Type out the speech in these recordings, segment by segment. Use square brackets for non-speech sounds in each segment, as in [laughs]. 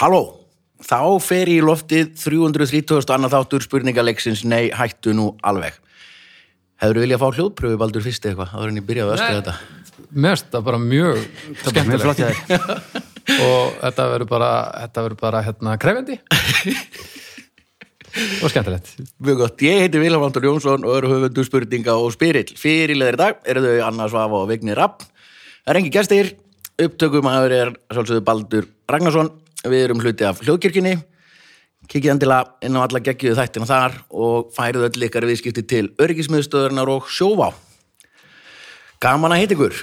halló, þá fer í loftið 330. annað þáttur spurningaleiksins, nei, hættu nú alveg. Hefur þú viljað fá hljóðpröfu baldur fyrst eitthvað, áður en ég byrjaði að öskra þetta? Mest það bara mjög bara mjög flott skemmtilegt hjá þér. og þetta verður bara, þetta verður bara hérna [laughs] krefendi og skemmtilegt. Mjög gott, ég heiti Vilhelm Anton Jónsson og eru höfundu spurninga og spyrill. Fyrirleðir í dag eru þau Anna Svafa og Vignir Rapp. Það er engi gestir, upptökumæður er sjálfsögðu Baldur Ragnarsson. Við erum hluti af hljóðkirkjunni. Kikið endilega inn á alla geggjuðu þættina þar og færið öll ykkar viðskipti til öryggismiðstöðurnar og sjóvá. Gaman að heita ykkur.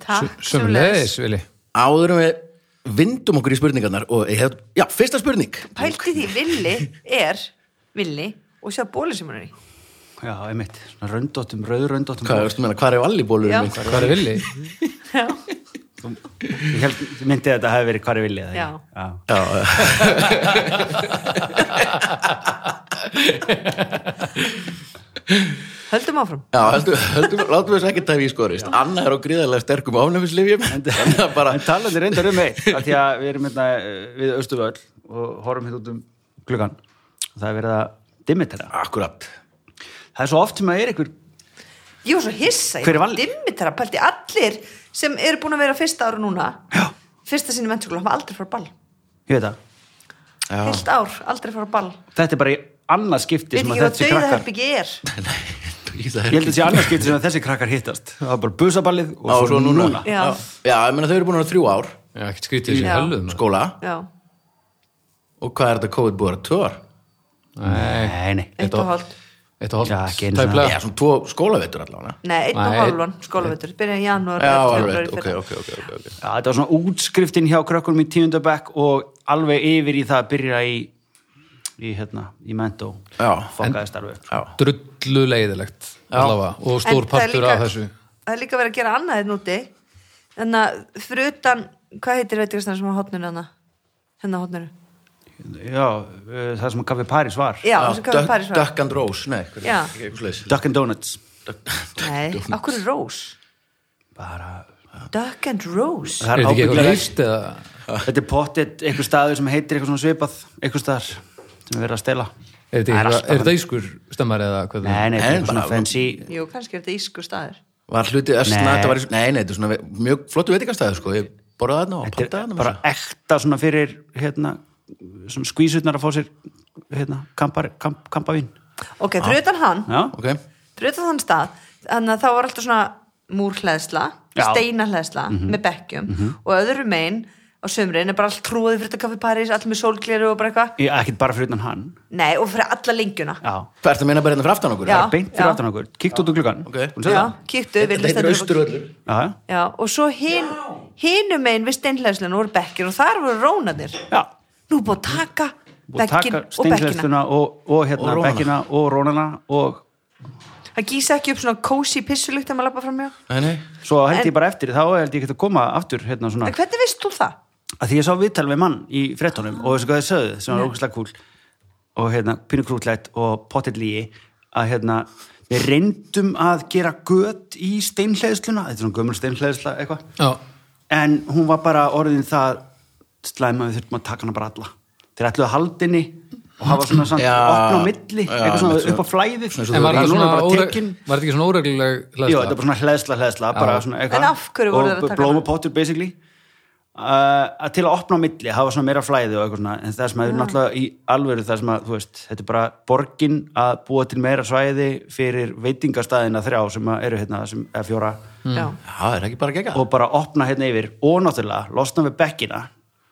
Takk, Sumleis, Vili. Áðurum við vindum okkur í spurningarnar og ég hef, já, fyrsta spurning. Pælti því villi er villi og sjá bóli sem hann er í. Já, einmitt, svona röndóttum, rauðröndóttum Hvað, veistu meina, hvað er Já. vallibólurinn? Hvað er Vili? Ég held, ég myndi að þetta hafi verið hvar ég vilja Já. Já, Já, já. Höldum áfram. Já, höldum, höldum, látum við þessu ekki tæfi í skorist. Anna er á gríðarlega sterkum áfnæmislifjum. Þannig að bara, en talandi reyndar um eitt af því að við erum hérna eh, við Östuvöll og horfum hérna út um klukkan og það er verið að dimmitera akkurat. [laughs] það er svo oft sem að er einhver Ég var svo hissa, Hver er ég var Valli? dimmitara, pælti allir sem eru búin að vera fyrsta ára núna, Já. fyrsta sinni menntskóla, hafa aldrei fara á ball. ég veit það, Já. Heilt ár, aldrei fara á ball. þetta er bara í annað Veit skipti ekki sem að hvað þessi krakkar dauðaherbyggi er. ég held að þessi annað skipti sem að þessi krakkar hittast það var bara busaballið og Já, svo núna. Já. Já, já, ég meina þau eru búin að vera þrjú ár, Já, ekkert skrítið sem Já. hölluð. Sko- maður. skóla. Já, Og hvað er þetta COVID búið að vera? Tvö ár? Nei, Nei, nei, eitt og hálft. eitt og Já, hálft ekki einu sinni. Já, tæplega. svona tvo skólavetur allavega. Nei, eitt og Nei, hálfan skólavetur. Byrjaði í janúar. Já, eða alveg, febrúar í ok, fyrra. ok, ok. ok, ok. Já, þetta var svona útskriftin hjá krökkunum í tíundabæk og alveg yfir í það að byrja í, í hérna, í mentó. Já. Fokkaðist alveg. Já. Drullu leiðilegt allavega og En stór það er partur líka- af þessu. Það er líka verið að gera annað hérna úti Þannig að fyrir utan Hvað heitir veitingastæðan sem á hotninu hana? Hérna á hotninu Já, eh, það sem að kaffi París var. Já, sem kaffi Ah, Duck- París var Duck and Rose, nei, hvernig- Já. ekki eitthvað slags. Duck and Donuts. Nei, okkur er Rose Bara, Duck and Rose það Er er þetta ekki eitthvað ábygglega, líst eða? þetta er pottet einhver staður sem heitir eitthvað svona svipað, einhver staðar sem við erum að stela. Er þetta Það er eitthvað- alltaf- er þetta ískur stemmar eða hvað það er? Nei, nei, þetta Nei, er svona bara- fancy. Jú, kannski er þetta ísku staður Var hlutið össna, Nei. þetta var, í- nei, nei, þetta er svona ve- mjög flottu veitingastæður, sko. Ég borðaði þarna og pantaði Þetta er þarna. bara meira. ekta svona fyrir, hérna, svona skvísutnar að fá sér, hérna, kampar, kamp, kampavín. Ok, fyrir utan hann, Já, Ok, fyrir utan þann stað Þannig að þá var alltaf svona múrhleðsla Já. Steinahleðsla með bekkjum Og öðru megin á sömrin er bara allt trúið fyrir þetta kaffi París Allt með sólgleru og bara eitthvað Ég- ekkert bara fyrir utan hann. Nei, og fyrir alla lengjuna Já. hvað ertu að meina bara hérna fyrir aftan okkur? Já. eða? beint fyrir Já. aftan okkur, kíkt út um úr klukkan Ok. Já, kíktu, Þetta vilja heitir Austurvöllur. já, Já, og svo hin, hinum megin við steinhleðsluna voru bekkir og þar voru rónarnir. já. Nú er búið að taka og bekkin taka og bekkina. steinslefstuna og, og hérna Og rónana. bekkina og rónana og Það gísa ekki upp svona kósi pissulikt að maður lappa fram hjá. Nei, nei. svo held En- ég bara eftir, þá held ég ekki að koma aftur hérna svona, En hvernig veist þú það? að því ég sá viðtal við mann í frettunum og þessu hvað þið sögðu sem var ógustlega kúl og hérna pínu krútlegt og pottet líi að hérna við reyndum að gera gött í steinhleðsluna, þetta er svona gömul steinhleðsla eitthvað Já, en hún var bara orðin það slæma við þurftum að taka hana bara alla þeir ætluðu að haldinni og hafa svona samt Já, opna á milli já, eitthvað svona einmitt svona- upp á flæði svona eins og en var Núna þetta svona bara óreg- tekin- var þetta ekki svona óregluleg Jú, þetta er hleðsla? bara svona hleðsla, hleðsla bara Já. svona En af hverju voru þeir að taka og hana? blómapottur basically uh, að til að opna á milli hafa svona meira flæði og eitthvað svona en það sem að er náttúrulega í alvöru það sem að þú veist, þetta er bara borgin að búa til meira svæði fyrir veitingastæðina þrjá sem að eru hérna sem, eða fjóra Já. Já, það er ekki bara gegga. og bara opna hérna yfir og náttúrulega losna við bekkina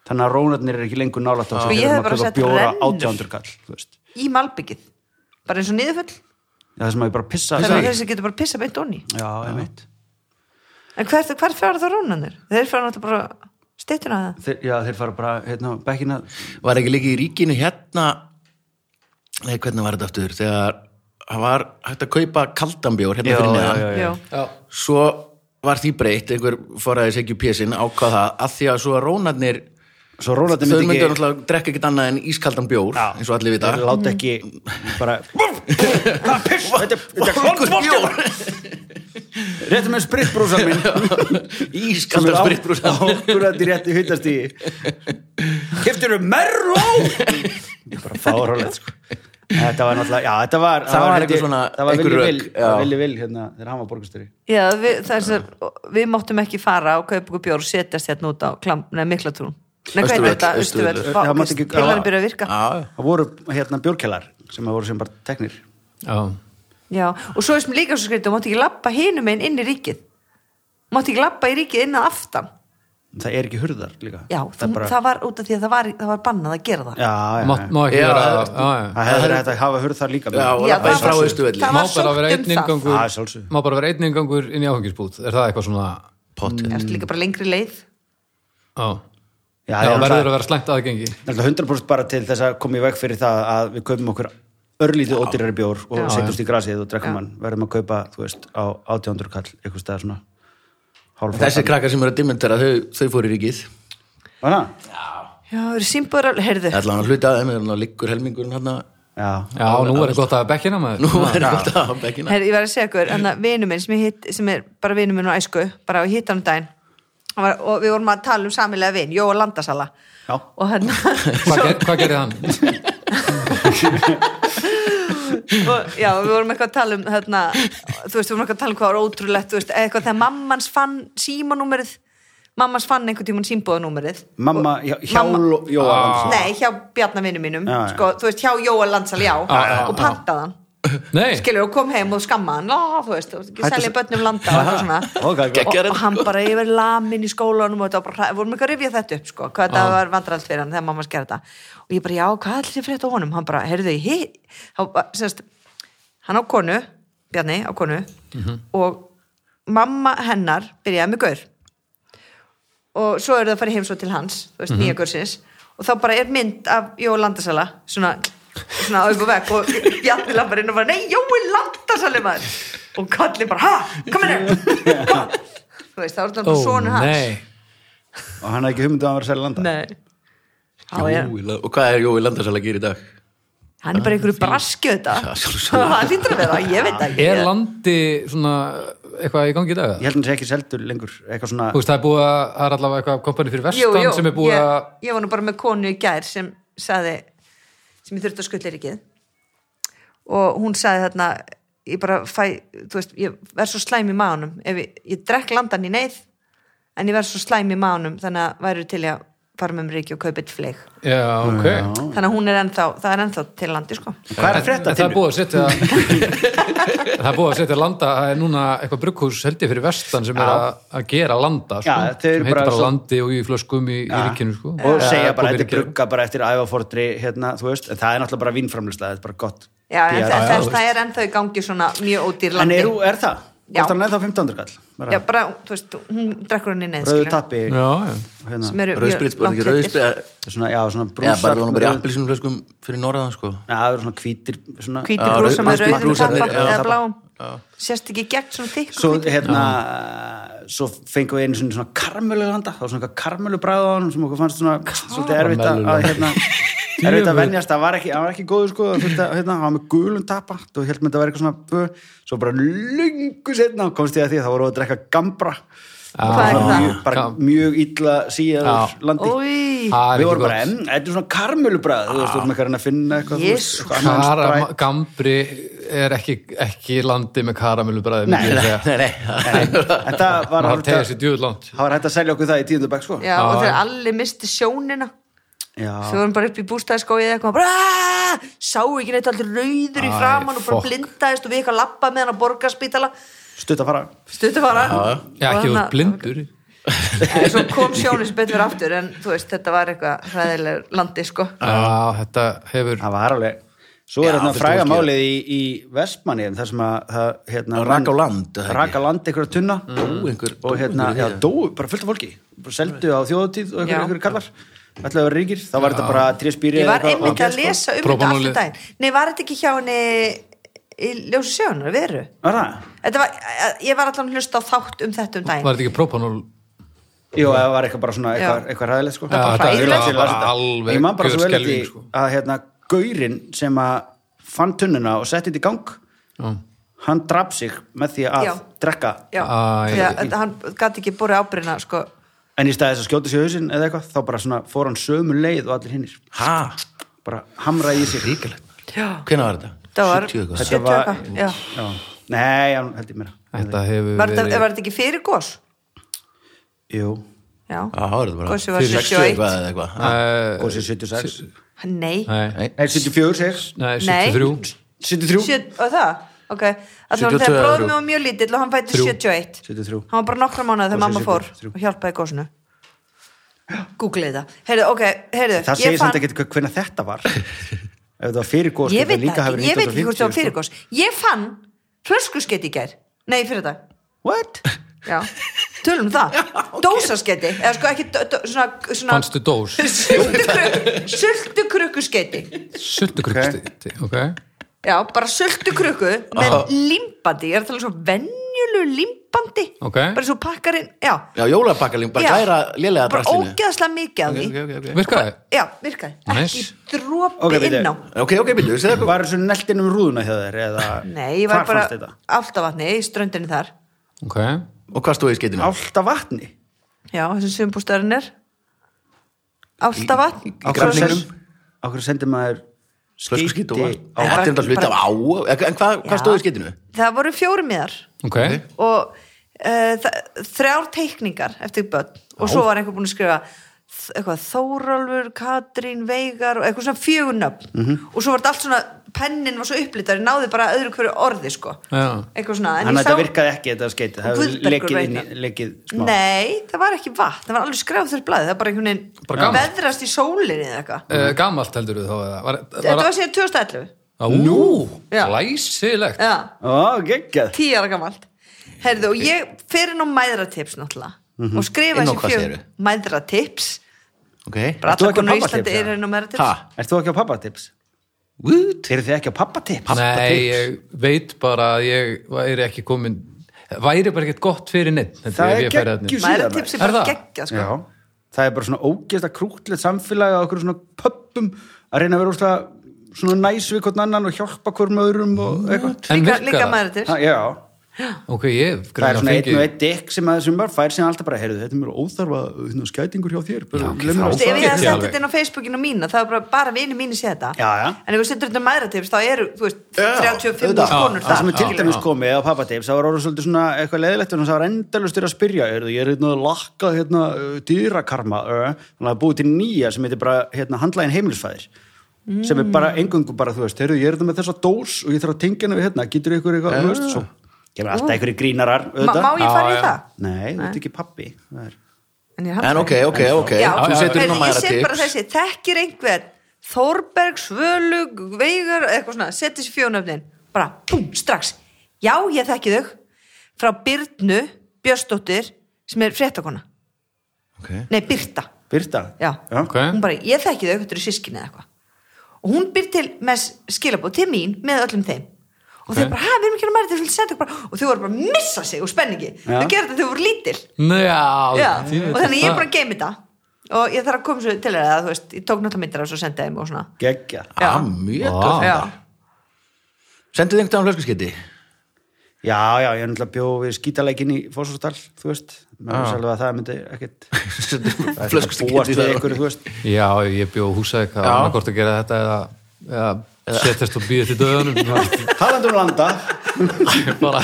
þannig að rónarnir er ekki lengur nálægt Sko, ég hefði bara sett bjóra rennur. 800 kall þú veist. Í malbyggið. Bara eins og niðurfull. Já, það sem að ég bara pissa hérna Þannig að þessi getur bara pissa beint onni. já, einmitt En hver, hver fjara þá rónarnir? Þeir fjara náttúrulega bara steytuna að það. þeir, já, þeir fara bara hérna á bekkina var ekki líka í ríkinu hérna nei, hvernig var þetta aftur þegar það var hægt að kaupa kaldanbjór hérna Já, fyrir já, neðan já, Já. Já, svo var því breytt einhver foraði segju pjesin ákvað það að því að svo að rónarnir svo rónarnir þau myndu myndi ekki náttúrulega drekka ekkert annað en ískaldan bjór Já. eins og allir vita þeir láta ekki bara þetta er- þetta er [laughs] Okkur klont bjór réttu með spritbrúsan minn Ískaldar spritbrúsan. Ákvörðandi réttu hittast í Keftirðu merló Ég bara fárálegt sko Þetta var náttúrulega, já þetta var Það var einhver svona- það var einhver villi rök, vil, já. það var villi vil hérna þegar hann var borgastöri Já, við, það er sem, við máttum ekki fara og kaupa okkur bjór og setjast hérna út á klam, neða miklatún. Nei, hvað er Austurvöll, þetta? Austurvöll. Östuvel. Já, mátti ekki- Pilarinn byrja að virka. Já, já. Það voru hérna bjórkjallar sem að voru sem bara teknir já, Já, og svo er sem líka svo skrítið, þú mátt ekki lappa hinum einn inn í ríkið. Mátt ekki lappa í ríkið inn að aftan. Það er ekki hurðar líka Já, það, er bara, það var út af því að það var, það var bannað að gera það. já, já, má, já. má ekki Já, vera það er- já, já. Það hefði þetta að hafa hurðar líka Já, og Já, lappa það frá var- austu velli. það má var bara vera sótt um einn það. ingangur Að sjálfsögðu. má bara vera einn ingangur inn í áfengisbúð er það eitthvað svona Pottið. Það er líka bara lengri leið. já, Já, já, það er verður náttúrulega- að vera slæmt aðgengi Það er 100% bara til þess að koma í veg fyrir það að við kaupum okkur örlítið ódýrari bjór og Já. setjumst í grasið og drekkum hann verðum að kaupa, þú veist, á 800 kall eitthvað staðar svona hálf Þessi krakkar sem eru að dimmentera, þau, þau fóru í ríkið. Já, Já, það eru símbúður alveg, heyrðu. Það er alveg að hluta að þeim, þannig að liggur helmingurinn hann já, nú er það gott að hafa bekkina maður Nú er gott að hafa bekkina. Her, ég var að segja ykkur, en að vinur minn sem, ég hitt, sem er bara vinur minn og æsku bara að hitta hann um daginn Hann var, og við vorum að tala um samilega vin, Jó og Landasala Já. og hérna- hann hvað, ger, hvað gerir [laughs] hann? og, já, við vorum eitthvað að tala um hérna, þú veist, við vorum eitthvað að tala um hvað var ótrúlegt þú veist, eitthvað þegar mammans fann símanúmerið, mammans fann einhvern tímann símbóðanúmerið Mamma, já, hjá Mamma- Jóa Landsson. Nei, hjá Bjarnarvinum mínum Já, já. sko, þú veist, hjá Jóa Landsala, já Já, já, Eh. og já. pantað hann, nei, skilur, og kom heim og skamma hann, Lá, þú veist, þú veist, ekki Hættu selja svo- börnum landa og eitthvað svona Ok, ok. Geggjað. og, Gerði og hann bara yfir lamin í skólanum og þetta var bara, hræ- vorum ekki að rifja þetta upp sko, hvað þetta var vandralt fyrir hann þegar mamma sker þetta og ég bara, já, hvað allir fyrir þetta á honum hann bara, heyrðu, hitt hann á konu, Bjarni á konu og mamma hennar byrjaði með gaur og svo eru það að fara í heimsótt til hans þú veist, nýja gursins og þá bara er mynd af Jói Landasala svona, svona upp og vekk og Bjarni lappar inn og bara, nei, Jói Landasali maður og kalli bara, ha, kom hérna kom, þú veist, þá er það bara ó oh, sonur hans nei og hann hafði ekki hugmyndu að hann var að selja landa Nei. Já, Jói já. La- Og hvað er Jói Landarsal að gera í dag? hann er bara einhverju braskju þetta Já, sjálfsögðu. [laughs] hann lítur að vera, ég veit ekki er landi svona eitthvað í gangi í dag? eða? Ég held hann sé ekki seldur lengur eitthvað svona, Þú veist, það er búið að, það er allavega eitthvað kompani fyrir jú, vestan jú, sem er búið ég, að, ég var nú bara með konu í gær sem saði sem ég þurfti að skulla er ekki og hún saði þarna ég bara fæ, þú veist, ég verð svo slæm í mánum ef ég, ég drekk landan í neyð en ég verð svo slæm í mánum þannig að væru til í að fara með mér ekki og kaupa eitt fleik já, ok. þannig að hún er ennþá, það er ennþá til landi sko hvað En- er að frétta en Það er þínu? búið að setja, það er búið að setja [laughs] landa, það er núna eitthvað brugghús heldig fyrir vestan sem er að, að gera landa, sko, Já, þau eru sem heitir bara bara svo- landi og í flöskum í, í ríkinu, sko. og Eða segja bara búið í þetta er ríkinu. brugga bara eftir ævafordri hérna, þú veist, en það er náttúrulega bara vínframlisla þetta er bara gott já, en PR. það, já, það, þú það er ennþá í gangi svona mjög ódýr en landi er, er það? Já. Hvort hann er þá 1500 kall? já, Bara bara, þú veist, hún drekkur hann í neyð Rauðu tappi Já, já. hérna. sem eru mjög Rauðsprit, var ekki langt leiddir. rauðsprit? svona, já, svona brúsar Já, bara hún bara í með- appelsinum flöskum fyrir norðan, sko. Já, það eru svona hvítir svona, hvítir Já, brúsa með rauð- rauðum brúsar, tappa já, eða tappa. bláum sérst ekki í gegn svona þykk Svo hérna Svo fengum við einu sinni svona karmölu landa Það var svona eitthvað karmölu bræð á hann sem okkur fannst svona svolítið erfitt að, að hérna [laughs] erfitt að Djöfull. venjast, það var ekki, það var ekki góður sko það þurfti að, hérna, hann var með gulum tapant og held með þetta var eitthvað svona bö, svo bara lungu setna komst ég að því að það voru að drekka gambra Hvað er það? mjög, bara Gam- mjög illa síðaður Já. landi Új, Það er við ekki vorum gott. bara, en þetta er svona karmölubræð þú veist, þú erum eitthvað að reyna að finna eitthvað þú veist, Jesús. eitthvað annað en Karam, Sprite. gambri er ekki, ekki landi með karamellubræði Nei, myndi ég segja. Nei, nei, það- þetta var maður hægt tegja að- sér djúð langt það var hægt að selja okkur það í tíundabæk sko já, og þegar allir misti sjónina Já. svo vorum bara upp í bústæðiskóið eitthvað bara, "Ah!" sáu ekki neitt allir rauður í Æ, framann og bara fuck. blindaðist og við eitthvað lappa með hann á borgarspítala stutt að fara stuttu fara Já, Og ekki úr þarna- [laughs] blindur. Nei, svo kom sjónin sem betur fyrir aftur en þú veist, þetta var eitthvað hræðileg landi sko Já, þetta hefur, það var alveg Já, svo er hérna fullt fræga fólki. málið í, í Vestmanni þar sem að það, hérna, Að raka á land, eða ekki? raka á land einhverja tunna Dó einhver- dó og hérna, einhver í já, því. dóu, bara fullt af fólki bara seldu á þjóðatíð og einhverju Já. einhver kallar ætlaði að vera ríkir, þá var þetta bara tréspýri Ég var einmitt sko. að lesa um þetta Prófanóli- alltaf daginn Nei, var þetta ekki hjá henni í ljósu sjónar, veru? var það? Þetta var, eh, ég var allan að hlusta á þátt um þetta um daginn var þetta ekki propanol? Jú, það var eitthvað bara svona eitthvað, Já. eitthvað ræðilegt sko. Já, þetta er Ég las bara þetta. alveg Ég man bara svo vel eftir gjörskelfing, sko. að hérna, gaurinn sem að fann tunnuna og setti þetta í gang Já. hann draf sig með því að Já. drekka já, Æ. já en hann gæti ekki borið ábyrðina sko, en í staði þess að skjóta sig í hausinn eða eitthvað þá bara svona fór hann sömu leið og allir hinnir ha, bara hamraði í sig ríkilegt já, hvenær var þetta? það var 70 eitthvað. 70 var- eitthvað, já. Já. nei, hann held ég mér Þetta hefur var þetta verið var þetta ekki fyrir gos? jú, já, Já, það var þetta bara Gosið var 60 71. eitthvað eða eitthvað ha. Eh, gósið 76 nei, Nei, Nei. nei, 74 segir nei, Nei. 73 73 Sjö, og það, ok þannig að 72 þegar bróðum þrjú. mig var mjög lítill og hann fætti 71 73. hann var bara nokkra mánuð þegar Og mamma fór 73. og hjálpaði gósinu googlaði það, heyrðu, ok, heyrðu það ég segir fann- samt ekki hvernig þetta var ef þetta var fyrir gos ég getur veit líka það ekki, hafa verið ég veit ekki hvort það var 1950, fyrir sko. gos ég fann flöskusketti í gær nei, fyrir dag, what? já tölum um það, dósasketti eða sko ekki, dó- dó- svona, svona Fannstu dós sultukrukku sultukrukkusketti Sultukruksti Ok já, bara sultukrukku með limbandi, ég er að tala um svo venjulu limbandi, Ok. bara svo pakkarinn já, Já, jólapakkaling, bara Já. glæra lélega bara drastlinu ógeðslega mikið af því Ok, Virkaði já, virkaði, Nice. ekki dropi Ok, bíddu. inn á ok, ok, byrju, segðu eitthvað var þessu neltin um rúðuna hjá þér eða nei, ég var hvar fannst bara þetta? alltaf vatni í ströndinni þar Ok Og hvað stóðu í skeitinu? Álta vatni Já, þessi sumbústæðurinn er Alltaf vatn Í grafningnum? Á hverju sendir maður Flösku skýt og vatn Þetta bara- er þetta hluti af á En hvað, hvað Já. stóðu í skeitinu? Það voru fjórumiðar Ok og uh, þrjár teikningar eftir börn og svo var einhver búin að skrifa þ- eitthvað, Þórólfur, Katrín, Veigar og eitthvað svona fjögunnöfn og svo var þetta allt svona, pennin var svo upplítar ég náði bara öðru hverju orði sko Já. eitthvað svona, en Þannig ég að sá þetta virkaði ekki þetta skeiti Það hefur Guðbergur lekið veit inn í það. lekið smá Nei, það var ekki vatn, það var alveg skráð þurr blæði, það var bara einhvern Bara veginn gaman. veðrast í sólinni eða eitthvað Eh, Gamalt heldur þú þá eða? var, Þetta var síðan 2011 Nú Já. Eh. Læsilegt Já Ó, geggjað tíu ára gamalt herðu og ég fer inn á mæðratips náttúrulega og skrifa Inn á þessi hvað fjög segirðu? mæðratips Ok bara Ert þú allar ekki á konur í pappatips, Íslandi eða? er inn á mæðratips Ha? Ert þú ekki á pappatips? What? Eru þið ekki á pappatips? Nei, ég veit bara að ég væri ekki komin væri bara ekkert gott fyrir neitt Það er geggjus mæðratips Er er bara það? geggja sko. Já Það er bara svona ógeðsta krútlegt samfélagi á okkur svona pöppum að reyna að vera óslega svona næs við hvort annan og hjálpa hverjum öðrum Mm. og eitthvað En líka, virkar líka það? mæðratips Ha, Já, Ok, ég hef það er greinilega svona einn fengið- og einn dikk sem að þessum bara fær sem alltaf bara, heyrðu, þetta er mjög óþarfa hérna, skætingur hjá þér bara, ok, lemur þá- á Þú veist, ef það. ég Já, hefði sett alveg. þetta inn á Facebookinu mína þá er bara, bara vinið mínu sé þetta Já, já. en ef við setjum þetta mæðratips þá eru þú veist, Já, 35 auðvitað. konur það sem er til skilurðu. dæmis komið á pappatips, það var orðið svolítið svona eitthvað leðilegt en það var endalust að spyrja heyrðu, ég er hérna að lakka hérna, uh, dýrakarma uh, þannig að búið til nýja sem heitir bara hérna, handlægin heimilisfæðir sem er Mm. bara engungu bara, þú veist, heyrðu, ég er hérna með þessa dós og ég þarf að tengja hana við hérna, getur ykkur eitthvað, þú veist, svo kemur alltaf einhverju grínarar, Ma, má ég auðvitað fara í Já, já. það? Nei, þú ert ekki pappi það er- En ég En handla- ok, ok, ok Já, Þú setur inn á heyrðu, ég set bara mæðratips þessi, þekkir einhver Þórberg, Svölug, Veigar eitthvað svona, setjum þessi fjónöfnin bara, búm, strax já, ég þekki þau frá Byrnu Björsdóttir sem er fréttakona, Ok nei Byrta Birta, já, Ok. hún bara, ég þekki þau, þetta eru sískinni eða eitthvað og hún byr til með skilabóð til mín með öllum þeim og þau Ok. bara, hæ, við erum ekki að mæri til senda ykkur bara, og þau voru bara að missa sig úr spenningi Já. þau gerðu þetta, þau voru lítil Nei, já, Já, því- og þannig ég er það- bara að geima þetta og ég þarf að koma svo til þeirra að þú veist, ég tók náttúrulega myndir af þessu og sendi þeim og svona geggja Já. Ah, mjög Vá. gott Já, Sendu þið einhvern veginn [laughs] flöskuskeiti? Já, já, ég er náttúrulega bjóð við skítalækin í Fórsvöldal, þú veist maður veist alveg að það myndi ekkit [laughs] það er svona búast Flöskuskeiti við einhverju, þú veist Já, ég bjó húsæk að Já. annarkort að gera þetta eða, eða setjast og býða til döðunum Þú [laughs] veist, Talandum um landa ég [laughs] bara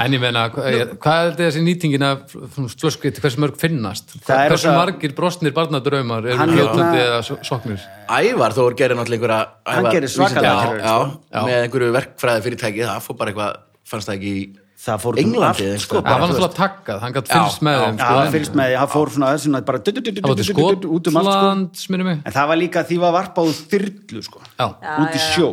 En ég meina, hva- ég- hvað er þetta þessi nýtingin af slöskviti, hversu mörg finnast? Það er Hversu það- margir brostnir barnadraumar eru Hann fljótandi hérna- eða so- soknir? Ævar Þór gerir náttúrulega einhverja Hann Ævar- gerir svakalega vísinda- tilraunir, já, sko. já, með einhverju verkfræði fyrirtæki það fór bara eitthvað, fannst það ekki í Það fór út um allt, Englandi eða sko, einhver- Það bara, var þú náttúrulega takkað, hann gætt fylgst með þeim sko. Já, það fylgst með því, það fór svona þessum að bara Það var til du-du-du-du-du-du-du-du út um allt, sko Skotland, minnum mig En það var líka að því var varpað úr þyrlu, sko Já, út í sjó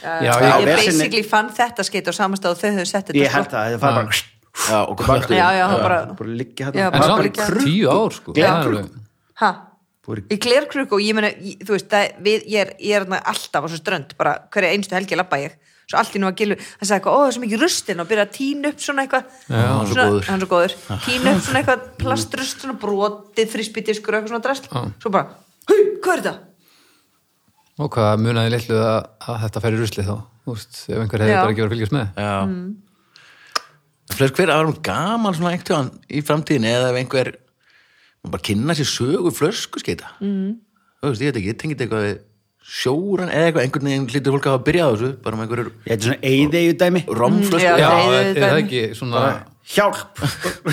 já, ég, ég, vesenið- basically fann þetta skeit á samastáð þau höfðu sett þetta Ég held það, það fara bara já, og hvað Já, já, það bara, bara liggja Já, hérna en bara- Það var samt bara í bara- tíu ár, sko Já. Það er alveg- ha Búið- í glerkrukku og ég meina, ég- þú veist það, við, ég er, ég er þarna alltaf á svo strönd bara hverja einstu helgi labba ég svo allt í nú að gilu, hann sagði eitthvað, ó það er svo mikið rustin og byrja að tína upp svona eitthvað hann er svo svona, góður. hann er svo [laughs] góður, tína upp svona eitthvað plastrust, svona brotið, frisbytiskur eitthvað svona drasl, Já. svo bara hei, hvað er þetta? [laughs] Og hvað munaði litlu að, að þetta fer í rusli þá? úrst, ef einhver hefði Já. bara ekki verið að fylgjast með Já Mm. Flest hver að vera gaman svona einhvern í framtíðin eða ef einhver bara kynna sér sögu flösku skeita mm. Þú veist, ég veit ekki, ég tengið eitthvað við sjóran eða eitthvað, einhvern veginn lítur fólk að hafa byrjað á þessu bara með einhverju Þetta er svona eyðeyju dæmi romflösku Mm, Já, Já, það er- er er það ekki svona Hjálp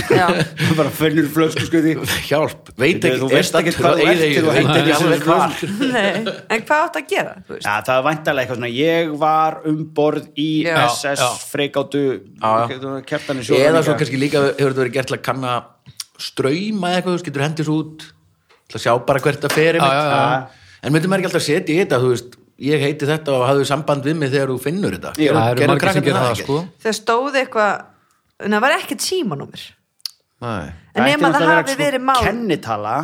Já. [laughs] Bara fönnur flösku skuti Hjálp, veit ekki, Þú veist ekkert hvað þú ert til þú þú heitir ekki alveg hvað Nei, en hvað átt að gera? þú veist? Já, það er væntalega eitthvað svona Ég var um borð í Já. SS Já. freikátu Já, já. Kjartan í Eða sjóðan svo kannski líka hefur þetta verið gert til að kanna strauma eða eitthvað, þú veist, getur hendis út til að sjá bara hvert það fer einmitt. Já, já, En myndum maður ekki alltaf að setja í þetta, þú veist ég heiti þetta og hafðu samband við mig þegar þú finnur þetta Já, það eru Gerðu margir sem krakkarnir gera það sko Þegar stóði eitthvað en það var ekkert símanúmer Nei. en nema það hafi verið mál Kennitala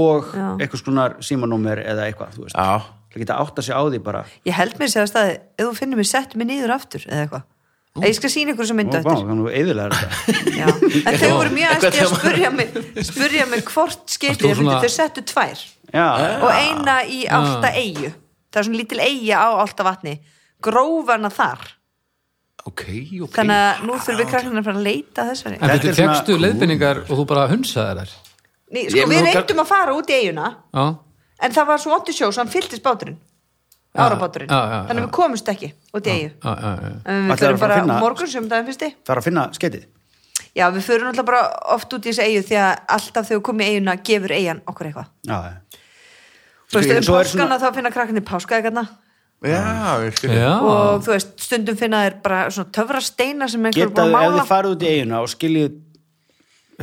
og Já. eitthvað svona símanúmer eða eitthvað, þú veist Já, Það geta átt að sé á því bara ég held mér sér að staði, ef þú finnir mér sett mér niður aftur eða eitthvað, Eða ég skal sína ykkur sem mynda Ó, vá, eftir Þannig eðilega þetta [laughs] Já. en þau voru mjög Eitthvað æsti að þegar maður- spurja mig spurja mig hvort Það stóð skeitið svona- þau settu tvær Já, og eina í allta eigu það er svona lítil eiga á allta vatni grófana þar ok, ok þannig að nú þurfum við krakkarnir að fara að leita að þessari En Þetta betur er svona- fegstu leiðbendingar og þú bara hunsaði þær Ný, Ég sko, mun nú við kann- reyndum að fara út í eiguna Já, en það var svo ondur sjó svo hann fylltist báturinn Já, árabáturinn, já, já, já. þannig að við komumst ekki út í eigu já, já, já en Ætlarðu við að förum fara bara að finna- morgun sem daginn fyrsti það er að finna skeitið já, við förum alltaf bara oft út í þessi eigu því að alltaf þegar við komum í eiguna gefur eigan okkur eitthvað Já, já þú veist, Svo- um svo er páskana þá finna krakkarnir páskaðegarna Já, ég skil. Ah. Já, og þú veist, stundum finna þeir bara svona töfrasteina sem einhver er geta búin þau, ef að þið mála farið út í eiguna og skiljið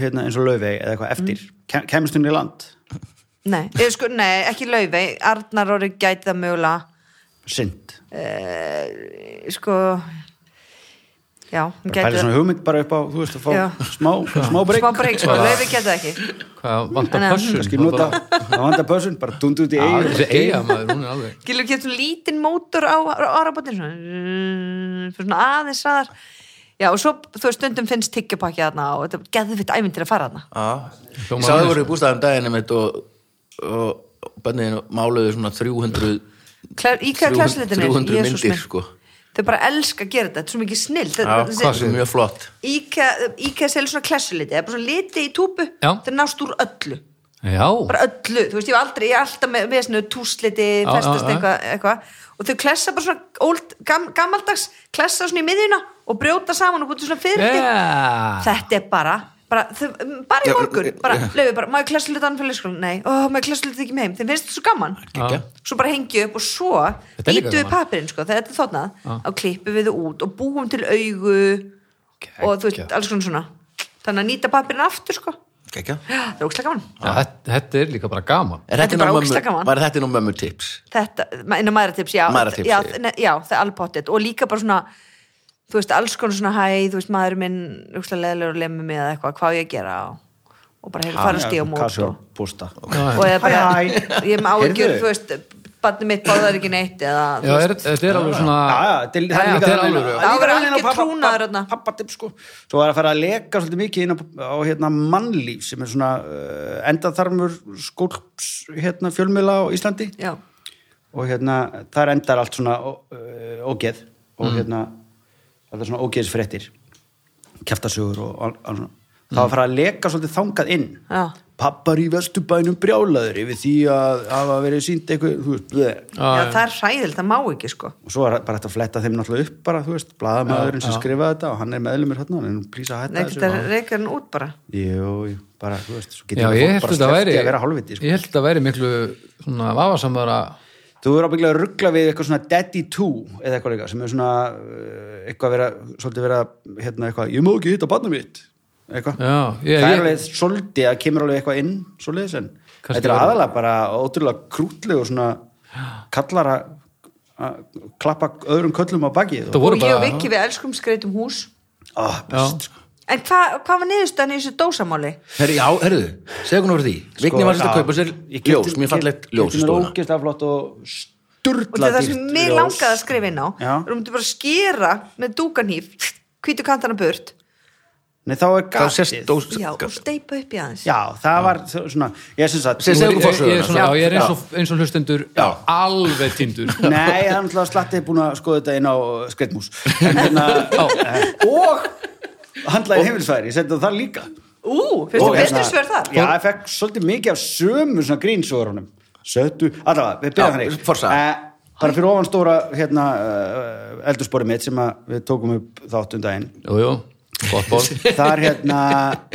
hérna, eins og laufið eða eitthvað eftir, mm. kemist hún í land nei, eða sko, nei, ekki laufi Arnar orði gæti það mögulega sind, Eh, sko já, hann það er gæti svona það hugmynd bara upp á, þú veist, að fá Já. smá, smá breyk, smá breyk, sko, laufi gæti það ekki hvað vantar Þannig að- pössun kannski nota [laughs] að vanda pössun, bara dundu út í Já, eiginu Þessi eiga maður, hún er alveg Gilur ekki svona lítinn mótor á árabótin svona, rrrr, svona aðeins aðar Já og svo þú veist stundum finnst tyggjupakki þarna og þetta er geðvitt æminn til að fara þarna Já. Ég Hljómar sá það vel, voru í sko. bústaðum daginn einmitt og, og bönniðin máluðu svona 300 Klær, Í hver 300 klæslitin er 300 Jesús myndir, minn. sko. Þau bara elska að gera þetta, þetta er svo mikið snill Já, þetta, hvað sem mjög flott Íkja, Íkja selur svona klessuliti það er bara svona liti í túpu Já. það er nást úr öllu Já, bara öllu, þú veist ég hef aldrei, ég er alltaf með, með svona túsliti, Já, festast já, já. eitthvað eitthva. og þau klessa bara svona old, gam, gammaldags, klessa svona í miðjuna og brjóta saman og búti svona fyrir yeah. þetta er bara bara, þau, bara í Já, morgun, já, já. bara, löfu bara má ég klessa hlutan fyrir leikskólan, nei, ó, má ég klessa hlutan ekki með heim, þeim finnst þetta svo gaman Kekja. svo bara hengju upp og svo Þetta er líka ítu við gaman. papirinn, sko, þegar þetta er þónað Já. og klippu við þau út og búum til augu og þú veist, Geggjað. alls konar svona þannig að nýta papirinn aftur, sko Kekja. það er ókslega gaman Já, þetta- Þetta er líka bara gaman Er Þetta er þetta bara nú ógeðslega mömmu- gaman. Var þetta nú mömmu tips? þetta, innan maðuratips, já Mæðratips, já, segi ég. ne, já, það er alveg pottet og líka bara svona þú veist, alls konar svona hæ, þú veist, maður minn rúkslega leðilegur og lemmi mig eða eitthvað, hvað á ég að gera og, og bara hefur farið stíð á sko. mót kassu og, bústa og eða bara, Hæ, hæ. ég má ekki Heyrðu. þú veist, barnið mitt báðar ekki neitt eða, Já, er, þetta er alveg svona Já, já, þetta er- það Já, er líka þetta er alveg- alveg- það er Það var líka alveg algjör pappa- trúnaður þarna. pappa- pappatipp, sko. svo var að fara að leka svolítið mikið inn á, á hérna, mannlíf sem er svona uh, endaþarmur skólps hérna, fjölmiðla á Íslandi já, og hérna, þar endar allt svona ó- ö, ógeð og hérna, það er svona ógeðsfréttir kjaftasögur og al- alls svona það var að fara að leka svolítið þangað inn já pappar í vesturbænum brjálaður yfir því að hafa verið sínt eitthvað, þú veist, bleh. Já, það er hræðild, það má ekki sko og svo er bara hægt að fletta þeim náttúrulega upp bara, þú veist, blaðamaðurinn sem skrifaði þetta og hann er meðlumur hérna, hann er nú plýsa að Nei, hætta þetta þessu reykir hann út bara jú, jú, bara, þú veist, svo getur Já, ég held bara þetta væri sleppti að vera hálfviti, sko. Ég held þetta væri miklu svona vafasamara þú verður ábygglega að ruggla við eitthvað svona daddy too eða eitthvað líka sem er svona uh, eitthvað vera, svolítið vera hérna eitthvað, ég má ekki hitta barna mitt eitthvað, Já, ég, það er ég, alveg svolítið að kemur alveg eitthvað inn, svolítið en Kannski þetta er verður- aðalega bara ótrúlega krútleg og svona kallar að að klappa öðrum köllum á bakið Þetta og, voru og ég og bara Viki við elskum skreitum hús oh, best, Já. sko. En hvað hva var niðurstaðan í þessu dósamáli? Herri, já, herruðu, segja hún voru því Vigni var þetta að já, kaupa sér Sko, ég keypti- ljós, mér fallegt keypti ljós í mér stóna ógeðslega flott og Og þetta sturla er það sem mig langaði að skrifa inn á Já. Þú myndir bara skera með dúkanýf Hvítu kantana burt Nei, þá er Þá sést gatið. dós... já, og steipa upp í aðeins Já, það var þ- svona, ég syns að... Sem segir okkur Ég, ég, forsöguna. er svona, já, ég er eins og, eins og hlustendur alveg tindur [laughs] Nei, það er náttúrulega slatti búin að skoða þetta inn á skreitmús. En hérna, eh, og handlaði heimilsfæri, ég setti það þar líka. ú, finnst þú hérna- bestu svör þar? Já, ég fekk svolítið mikið af sömu svona grínsögurunum. Sötu, allavega, við Já, byrjum hann forsaga. bara fyrir ofan stóra hérna, uh, eldursporið mitt sem að við tókum upp þáttum daginn. Jú, jú, gott ból [laughs] Þar hérna,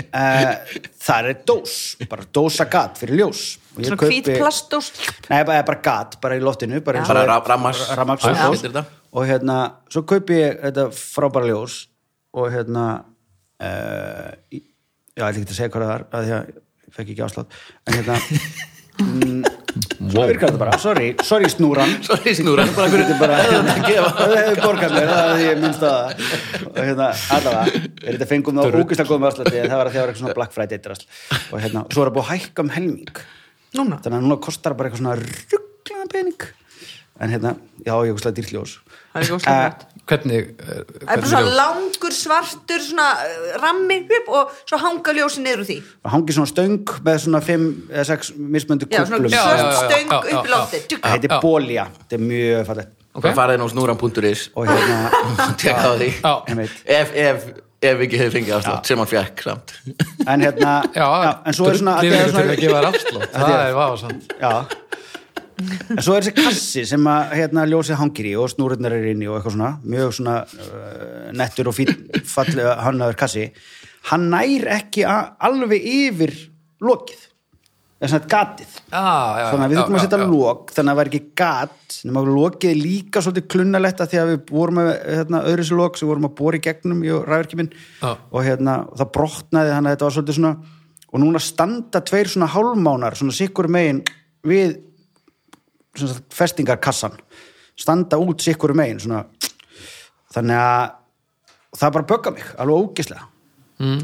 uh, þar er dós, bara dósa gat fyrir ljós. Og ég svona kaupi- hvít plastdós Nei, bara, bara gat, bara í loftinu bara, eins og Bara er- ra- rammags- rammags- Já. ljós. Heitir þetta? og hérna, svo kaupi ég þetta frábæra ljós og hérna uh, já, ég líkt að segja hvað það var að því að ég fekk ekki afslátt en hérna, svo virkar þetta bara sorry, sorry snúran Sorry, snúra, bara þetta hverju er [laughs] bara þetta að gefa það hefur borgað mér, það er því ég minnst að og hérna, allavega er þetta fengum það ógislega góðum afslátti en það var að því að það var eitthvað svona Black Friday drasl og hérna, svo er að búið að hækka um helming núna, þannig að núna kostar bara eitthvað svona rugglaðan pening en hérna, já, ég er slæði dýrljós það er ekki óslega gott Hvernig, eh, það er hvernig bara svona ljós? langur svartur svona eh, rammi upp, og svo hanga ljósin niður úr því og hangi svona stöng með svona 5 eða 6 mismöndu já, svona kuglum Já, já, já, svört já, stöng já, já, upp í já. lofti Tjúk. það heitir Já. bólja, þetta er mjög fallið Ok. Bara farið inn á snúran.is [laughs] og hérna, og tekka á því Já. einmitt. ef, ef, ef ekki hefði fengið afslátt sem hann fekk samt en hérna Já, en svo er svona, Lifir þetta er ekki fyrir að svona gefa þér afslátt [laughs] Það er vafasamt já En svo er þessi kassi sem að hérna, ljósið hangir í og snúrurnar er inni og eitthvað svona, mjög svona uh, nettur og fín, fallega hannaður kassi, hann nær ekki a, alveg yfir lokið, þess að gatið. þannig að við þurfum að setja lók þannig að það var ekki gat nema að lokið er líka svolítið klunnalegt að því að við vorum með hérna, öðru sér lók sem við vorum að bóra í gegnum í ræðurkimin Já. og hérna, og það brotnaði þannig að þetta var svolítið svona og núna standa tveir svona hálmánar svona sikkur megin við svona sagt, festingarkassan standa út sikkur megin svona. þannig að það bara bögga mig, alveg ógislega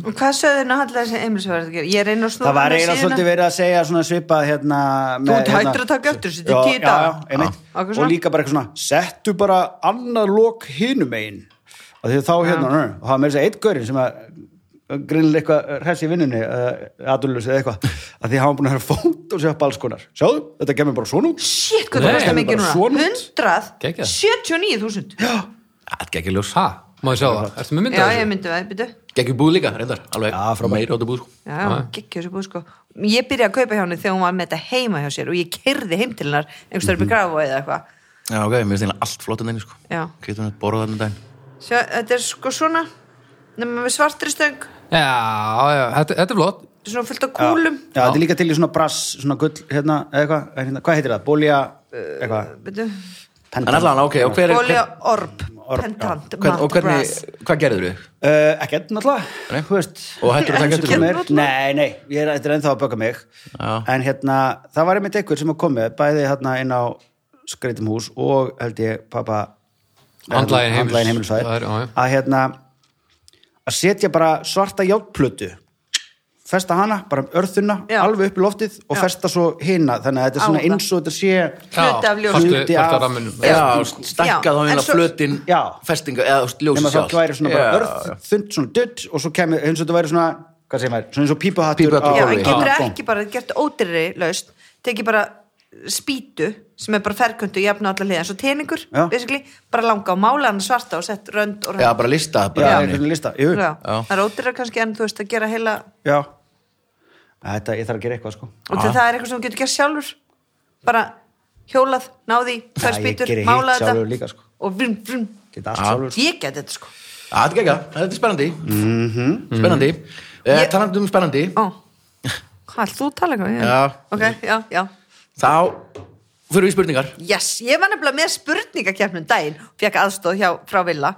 og hvað söðurinn að handla þessi heimilisverð að gera? ég reyna að snúra það var með eiginlega síðuna. svolítið verið að segja svona svipað hérna Þú ert hættur að taka eftir þessu, þetta er tíu já, daga. já, einmitt. Já. Ákveð svona. og líka bara eitthvað svona, settu bara annar lók hinum megin og því þá hérna, nö, og það var með þess að eitt gaurinn sem að grinnlega eitthvað hressi í vinnunni aðurljus eða eitthvað að því hafa búin að höra fónt og segja upp alls konar sjáðu, þetta gemur bara svona út Shit, hvað það Nei, kostar mikið bara núna? svona út. 179.000 Gekk í ljós Ha, má ég sjá það, ertu með Já, myndað ég þessu? myndi það, byrju Gekk í búð líka, reyndar, alveg Já, frábært. meira á þetta búð sko. Já, já, geggjur þessu búð sko Ég byrjaði að kaupa hjá henni þegar hún var með þetta heima hjá sér og ég kerði heim til hennar einhvers þar upp í grafa eða eitthvað Já, ok, mér finnst eiginlega allt flott en þenni sko Já. Getur hann að borða þarna hérna daginn Sjá, þetta er sko svona nema með svartri stöng þetta Já, já, þetta þetta er flott er svona fullt af já, já, kúlum þetta er líka til í svona brass, svona gull hérna, eða eitthvað, eða hérna, hvað heitir það, bólja eitthvað, Byrju, En allan, ok, og hver er Olja hver, orb, Orb, pentant, hvern, matt Og hvernig, brass hvað gerður þau? Uh, ekkert náttúrulega Nei. Þú veist, Og hættur að taka eins eftir kemur. þessu? Nei, nei, ég er, þetta er ennþá að böka mig Já. En hérna, það var einmitt einhver sem að komið Bæði hérna inn á skreitum hús Og held ég pappa Handlaginn heimils- Handlægin heimilsfæðir Það er, já, já. Að hérna Að setja bara svarta játplötu Festa hana, bara um örðuna Já. Alveg upp í loftið og festa svo hina Þannig að þetta er Á svona það. eins og þetta sé Hluti af ljósinu. fastu- Hluti fastu af- ramminum. Já, Já, stækka þá en hérna svo- flötin Já. Festinga, eða þú veist, nema ljósið þá væri svona bara Já, já. örð, þund, svona dutt og svo kemur, eins og þetta væri svona hvað segir maður, svona eins og pípuhattur Pípuhattur á- Já, Orbi. en getur á- ekki bara gert ódýrri laust tekið bara spýtu sem er bara ferkundu, jafna allar liðan svo teningur, Já. basically, bara langa og mála hann svarta og sett rönd og rönd Já, bara lista það já, bara einhvern þannig. veginn lista, jú, Já. Já. það er ódýra kannski en þú veist að gera heila já þetta, ég þarf að gera eitthvað sko og til það er eitthvað sem þú getur gert sjálfur bara hjólað, náði Já, tvær ég spýtur, geri hitt mála sjálfur þetta líka, sko. og vrum, vrum geta allt sjálfur sko. ég get þetta sko Já, Þetta gekk að, þetta er spennandi Mhm. Spennandi eh, Mhm. Ég- Talandi um spennandi Ó. [laughs] hvað, ætlar þú að tala eitthvað? Já. ok, já, já Þá fyrir við í spurningar Yes, ég var nefnilega með spurningakefnum daginn og fekk aðstóð hjá frá Villa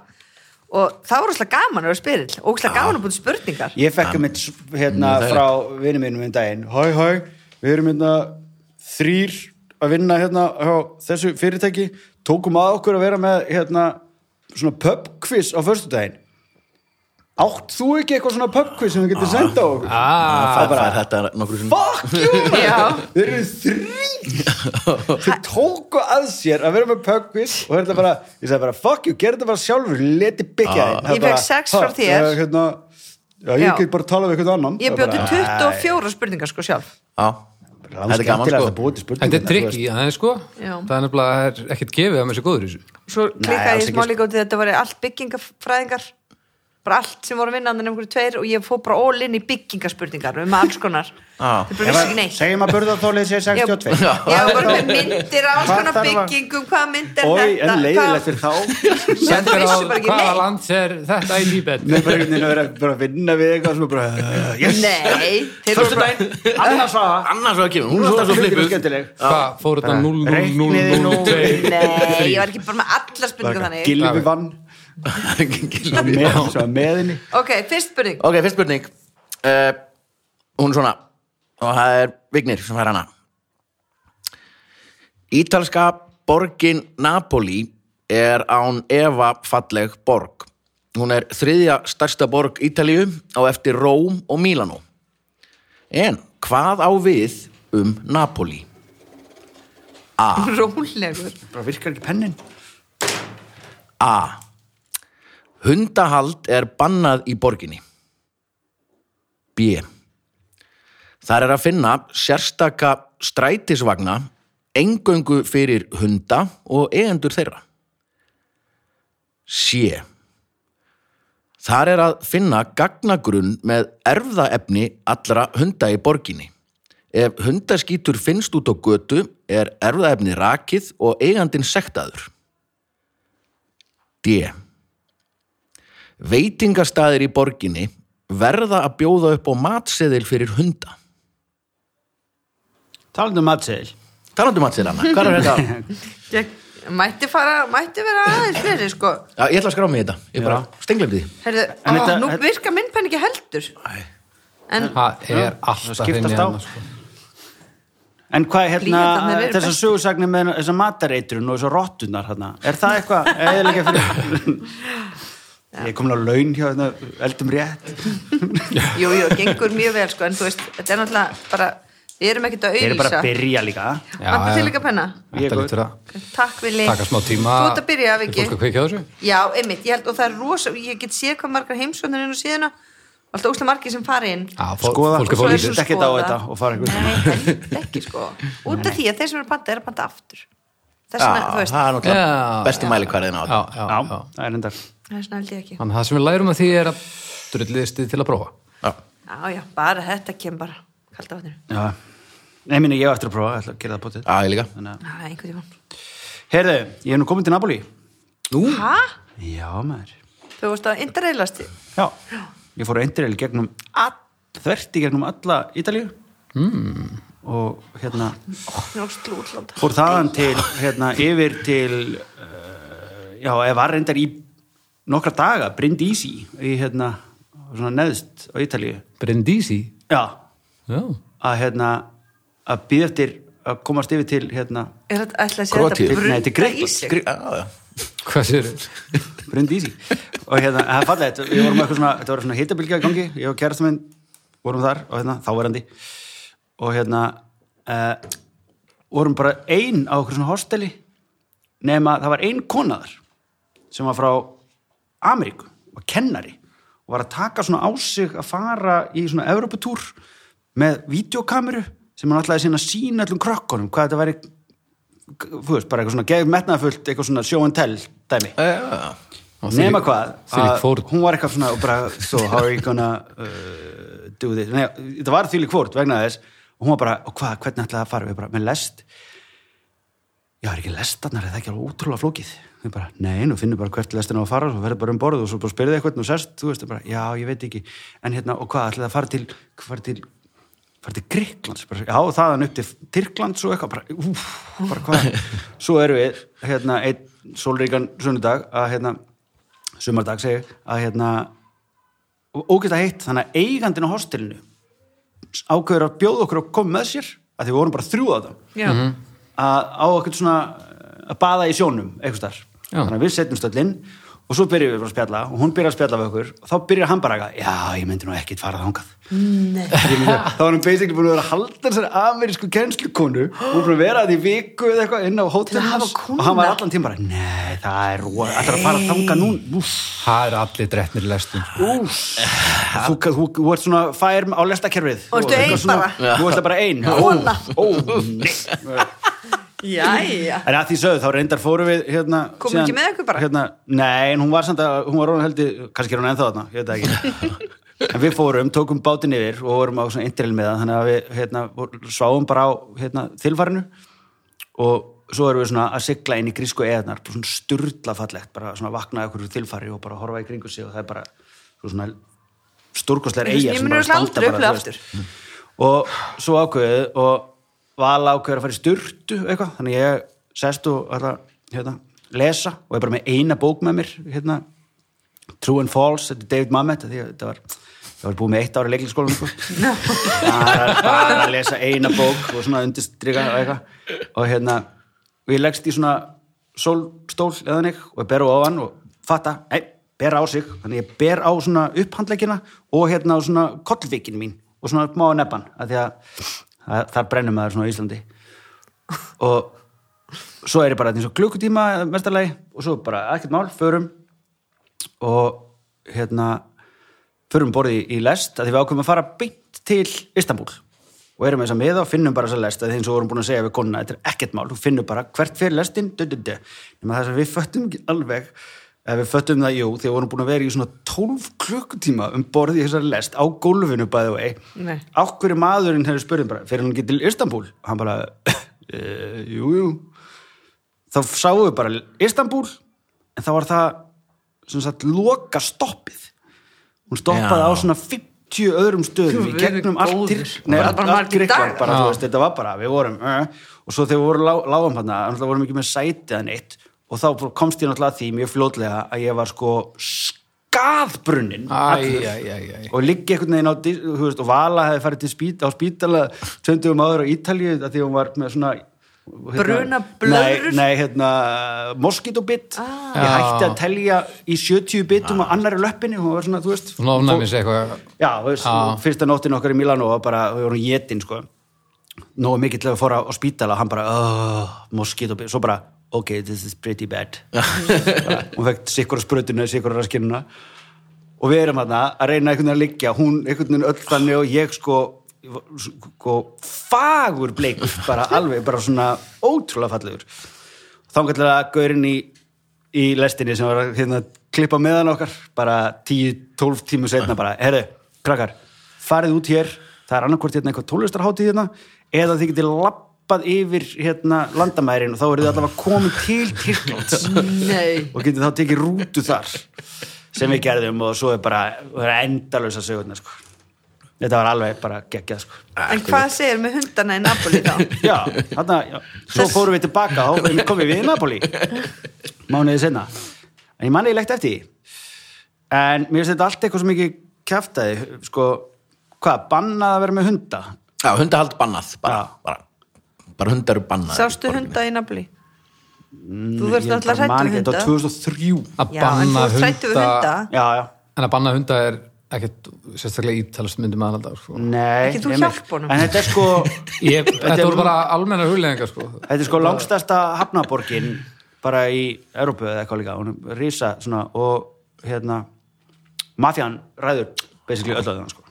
og það var óslega gaman að vera spyrill og óslega gaman að búið spurningar ég fekk um eitt hérna það er- frá vinnum mínum um daginn hæ, hæ, við erum hérna þrýr að vinna hérna á þessu fyrirtæki, tókum að okkur að vera með hérna svona pub quiz á föstudaginn átt þú ekki eitthvað svona pub quiz sem við getum senda á okkur Ah, Það fær þetta nokkru sinni fuck you Já. man þeir eru þrý þeir tóku að sér að vera með pökkvís og þetta bara, ég sagði bara fuck you, gerðu þetta bara sjálfur leti byggja Ah. þín Það Ég fékk bara, sex ha, frá þér. eh, hérna, Já, ég Já. get bara að tala við einhvern annan Ég Það bjóti bara- 24 spurningar sko sjálf Já, Rán þetta er gaman skemmtilegast sko að búa til spurningar, hérna, Þetta er þú veist. trikk í aðeins sko Já. Það er nefnilega það er ekkert gefið að mér sé góður í þessu Svo alls klikkaði ég ekki, smá sko. líka út í þetta var allt byggingafræðingar bara allt sem voru vinnandi nefnir um tveir og ég fór bara all in í byggingaspurningar um alls konar Já. Þeir bara Ef vissi að- ekki neitt Segjum að burðarþólið sé Já, 62 já, bara með myndir af alls Hvað konar þarf að- byggingum hvað mynd er Ói, [laughs] þetta en leiðilegt fyrir [laughs] þá Þetta Sendir á vissi bara ekki hvaða neitt. land er þetta í Líbet Mér bara einhvern veginn að vera bara að vinna við eitthvað sem er bara, uh, yes Nei, þeir voru Fyrstu bara daginn, Annars var annars var ekki Hún Þú svo svo varst að [laughs] hlutir flippuð skemmtileg Hvað fór þetta Reikniði nú. 0-0-0-2 Nei, ég var ekki bara með alla spurningar þannig Gilvi vann Gylfi. svo með, svo meðinni Ok, fyrst spurning Ok, fyrst spurning uh, Hún er svona og það er Vignir sem fær hana Ítalska borgin Napoli er án Eva falleg borg Hún er þriðja stærsta borg Ítalíu á eftir Róm og Mílanó En hvað á við um Napoli? Rólegur Bara virkar ekki pennin A. Hundahald er bannað í borginni. B. Þar er að finna sérstaka strætisvagna engöngu fyrir hunda og eigendur þeirra. C. Þar er að finna gagnagrunn með erfðaefni allra hunda í borginni. Ef hundaskítur finnst út á götu er erfðaefni rakið og eigandin sektaður. D. Veitingastæðir í borginni verða að bjóða upp á matseðil fyrir hunda. Talandi um matseðil Talandi um matseðil hana, [laughs] hvað er þetta? Ég Mætti fara, mætti vera aðeins fleiri sko Já, ég ætla að skrá mig í þetta, ég bara stenglum því. Herðu, ó, En þetta- nú þetta- virka myndpenn ekki heldur En Það er alltaf skiptast þinn í á. hana, sko. En hvað er hérna, Blýantarnir eru þessar bestir. sögursagnir með þessar matareitrun og þessar rottunar hérna, er það eitthvað eðilega fyrir Ég er komin á laun hjá hérna, eldum rétt jú, jú, gengur mjög vel sko En þú veist, þetta er náttúrulega bara Við erum ekkert að Þeir eru bara auðlýsa að byrja líka Já, Vantar já. til líka penna Ég er Þetta góð. lítur að Takk Vili taka smá tíma Þú ert að byrja af ekki Fólk að kveikja á þessu Já, einmitt, ég held og það er rosa Ég get séð hvað margar heimsóknir inn á síðuna Alltaf óslega margir sem fara inn Já, fó- Skoða, fólk að fá Svo er lítið svo- Hlusta ekkert á skoða. þetta og fara Nei, eitthvað heldur ekki sko Út af því að þeir sem eru að panta er að panta aftur Þess Já, vegna, þú veist, það er náttúrulega Já. besti mælikvarðin á Já, þetta. já, Já, já það er endar það er svona held ég ekki Þannig að það sem við lærum að því er að drulliðistið til að prófa Já. Já, já, bara þetta kemur bara Kalda vatnir Já, nei minni ég á eftir að prófa, ég ætla að gera það bótið Já, ég líka. Þannig að Já, einhvern tímann Herðu, ég hef nú komin til Napoli Hæ? Já, maður Þú veist að interreilast Já, ég fór að endiril gegnum all, þvert í gegnum alla Ítalíu mm. og hérna Njókslu útlanda fór þaðan til, hérna, yfir til uh, já, ég var reyndar í nokkra daga, Brindisi í hérna, svona neðst á Ítalíu Brindisi Já, Já, að hérna að býða eftir að komast yfir til hérna, Er þetta ætla að sé Króatíu. þetta Nei, þetta er Grikkland. í sig? Skri- Já, já. hvað sér Brindisi og hérna, það er fallið, við vorum eitthvað svona þetta var svona hitabilgja í gangi, ég og kærastum minn vorum þar og hérna, þáverandi og hérna uh, vorum bara ein á okkur svona hosteli nema það var ein kona þar sem var frá Ameríku var kennari og var að taka svona á sig að fara í svona Evropatúr með videokameru sem hann ætlaði sína að sína allum krökkunum hvað þetta væri þú veist, bara eitthvað svona geðum metnaðfullt eitthvað svona show and tell dæmi Já, já, já. nema hvað Þvílík að fórn. hún var eitthvað svona og bara, so how are you gonna uh, do this Nei, þetta var þvílík fórt vegna þess og hún var bara, og hvað, hvernig ætlaði það að fara við bara, með lest já, er ekki lestarnar, er það ekki alveg ótrúlega flókið við bara, nei, nú finnum bara hvert lestin á að fara og verður bara um borð og svo bara spyrðið eitthvað og sest, þú veist, og bara, já, ég veit ekki en hérna, og hvað, ætlaði það að fara til fara til, fara til Gríklands bara, já, og þaðan upp til Tyrklands og eitthvað bara, úf, bara hvað svo erum við, hérna, einn sólríkan sunnudag, að hérna sumardag segi ég, að hérna ógæslega heitt, þannig að eigandinn á hostelinu ákveður að bjóða okkur að koma með sér að því við vorum bara þrjú á það Já, að á okkur svona að baða í sjónum eitthvað þar, Já. þannig að við setjum stöllin og og svo byrjum við bara að spjalla og hún byrjar að spjalla við okkur og þá byrjar hann bara að ganga, já, ég myndi nú ekkit [laughs] fara þangað Ég myndi- þá var hann basically búin að vera að halda þessari amerísku kennslukonu og hún búin að vera að því viku eða eitthvað inn á Til að hótelum hafa hans kúnna. og hann var allan tíma bara, nei, það er rosa ætlar að fara þangað núna, úf Það er allir drefnir í lestum. Ús, þú, þú, þú ert svona fær á lestakerfið Og ertu ein eitthvað svona- bara? Þú ert bara ein Ó, Kona. ó, nei Jæja. En að því sögðu, þá reyndar fórum við hérna, Kom ekki með ykkur bara? Hérna, nei, en hún var samt að, hún var rónan heldi, kannski er hún ennþá þarna, ég veit það [laughs] ekki. en við fórum, tókum bátinn yfir og vorum á svona interil með það, þannig að við hérna, vor- sváum bara á hérna, þilfarinu og svo erum við svona að sigla inn í grísku eðnar, bara svona sturla fallegt, bara svona vaknaði okkur úr þilfari og bara horfa í kringu sig og það er bara svo svona stórkostlegar Ég finnst- ég eigar sem mun bara örugglega standa aldrei bara, upplifa þú veist og svo ákveðið og val ákveður að fara í styrtu eitthvað, þannig ég sest og var að hérna, lesa og er bara með eina bók með mér hérna, True and False, þetta er David Mamet af því að þetta var, það var búið með eitt ára leiklingsskólan sko. bara, bara að lesa eina bók og svona undirstrika og eitthvað og hérna, og ég leggst í svona sólstól eða neitt og ég ber á hann og fatta, nei, ber á sig þannig ég ber á svona upphandleggina og hérna á svona kollvikin mín og svona má á neppan, af því að, að þar brennum maður svona á Íslandi og svo er ég bara eins og klukkutíma mestarlegi og svo bara ekkert mál, förum og hérna förum borði í lest að því við ákveðum að fara beint til Istanbul og erum þess að miða og finnum bara þess að lest að því eins og vorum búin að segja við konna, þetta er ekkert mál þú finnum bara hvert fyrir lestin dö, dö, dö. nema þess að við föttum ekki alveg eða við föttum það, jú, því við vorum búin að vera í svona 12 klukkutíma um borði í þessari lest á gólfinu bæðu vei Nei. á hverju maðurinn hefur spurðin bara fyrir hann ekki til Istanbul og hann bara, [laughs] e, jú, jú þá sáum við bara Istanbul en þá var það sem sagt loka stoppið hún stoppaði Já. á svona 50 öðrum stöðum í Guð gegnum minn allt góður. Tyrk- nei, Bara allt- bara allt margir Gríkland dagar. bara, þú Já. veist, þetta var bara, við vorum uh, og svo þegar við vorum lá, lágum hann þannig vorum við ekki með sæti eða neitt og þá fór- komst ég náttúrulega að því mjög fljótlega að ég var sko skaðbrunnin Æj, æj, æj, æj. og liggja einhvern veginn á dys- þú veist, og Vala hefði farið til spít, á spítala 20 áður á Ítalíu að því hún var með svona hérna- Bruna blöðrur? Ah. nei, nei, hérna, moskítóbitt ég hætti að telja í 70 bitum á annari löppinni Ah. hún var svona, þú veist Svona ofnæmis eitthvað. já, þú veist, Já. fyrsta nóttin okkar í Milano var bara, við vorum jetin sko nógu mikill til að fóra á spítala hann bara, oh, moskítóbitt svo bara, ok, this is pretty [laughs] bad bara, hún fekk sikkur að sprutinu sikkur að raskinuna og við erum hérna að reyna einhvern veginn að liggja hún einhvern veginn öll þannig og ég sko, sko fagur bleikur bara alveg, bara svona ótrúlega fallegur þá kallar að gaurinn í, í lestinni sem var að hérna, klippa meðan okkar bara 10-12 tímu setna bara, herðu, krakkar farið út hér, það er annarkvort hérna eitthvað tólistarhátíð hérna, eða þið getið lappað yfir hérna landamærin og þá eru þið allavega komin til Tyrklands Nei. og getur þá tekið rútu þar sem við gerðum og svo er bara endalösa sögurnar sko. þetta var alveg bara geggjað sko. En hvað segir með hundana í Napoli þá? já, þarna, já, svo fórum við tilbaka og komum við í Napoli mánuðið senna en ég manni ég legt eftir því en mér finnst þetta allt eitthvað sem ekki kjaftaði sko, hvað, bannað að vera með hunda Já, hundahald bannað bara, Já. bara, bara hundar eru bannað Sástu hunda í Napoli? Mm, Þú verðst náttúrulega hræddur við hrættu hunda. þetta var 2003 Að Já, en þú banna ert hrættu við hunda. hunda. já, já, En að banna hunda er ekkert sérstaklega ítalast myndum aðalda. Sko. nei Ekki þú Emil. hjálpa honum? en þetta er sko Ég, Mm. Þetta þetta er- voru bara almenna hugleðingar sko. Þetta er sko langstærsta hafnaborgin bara í Európu eða eitthvað líka, hún er rísa svona og hérna mafjan ræður basically öll að það sko.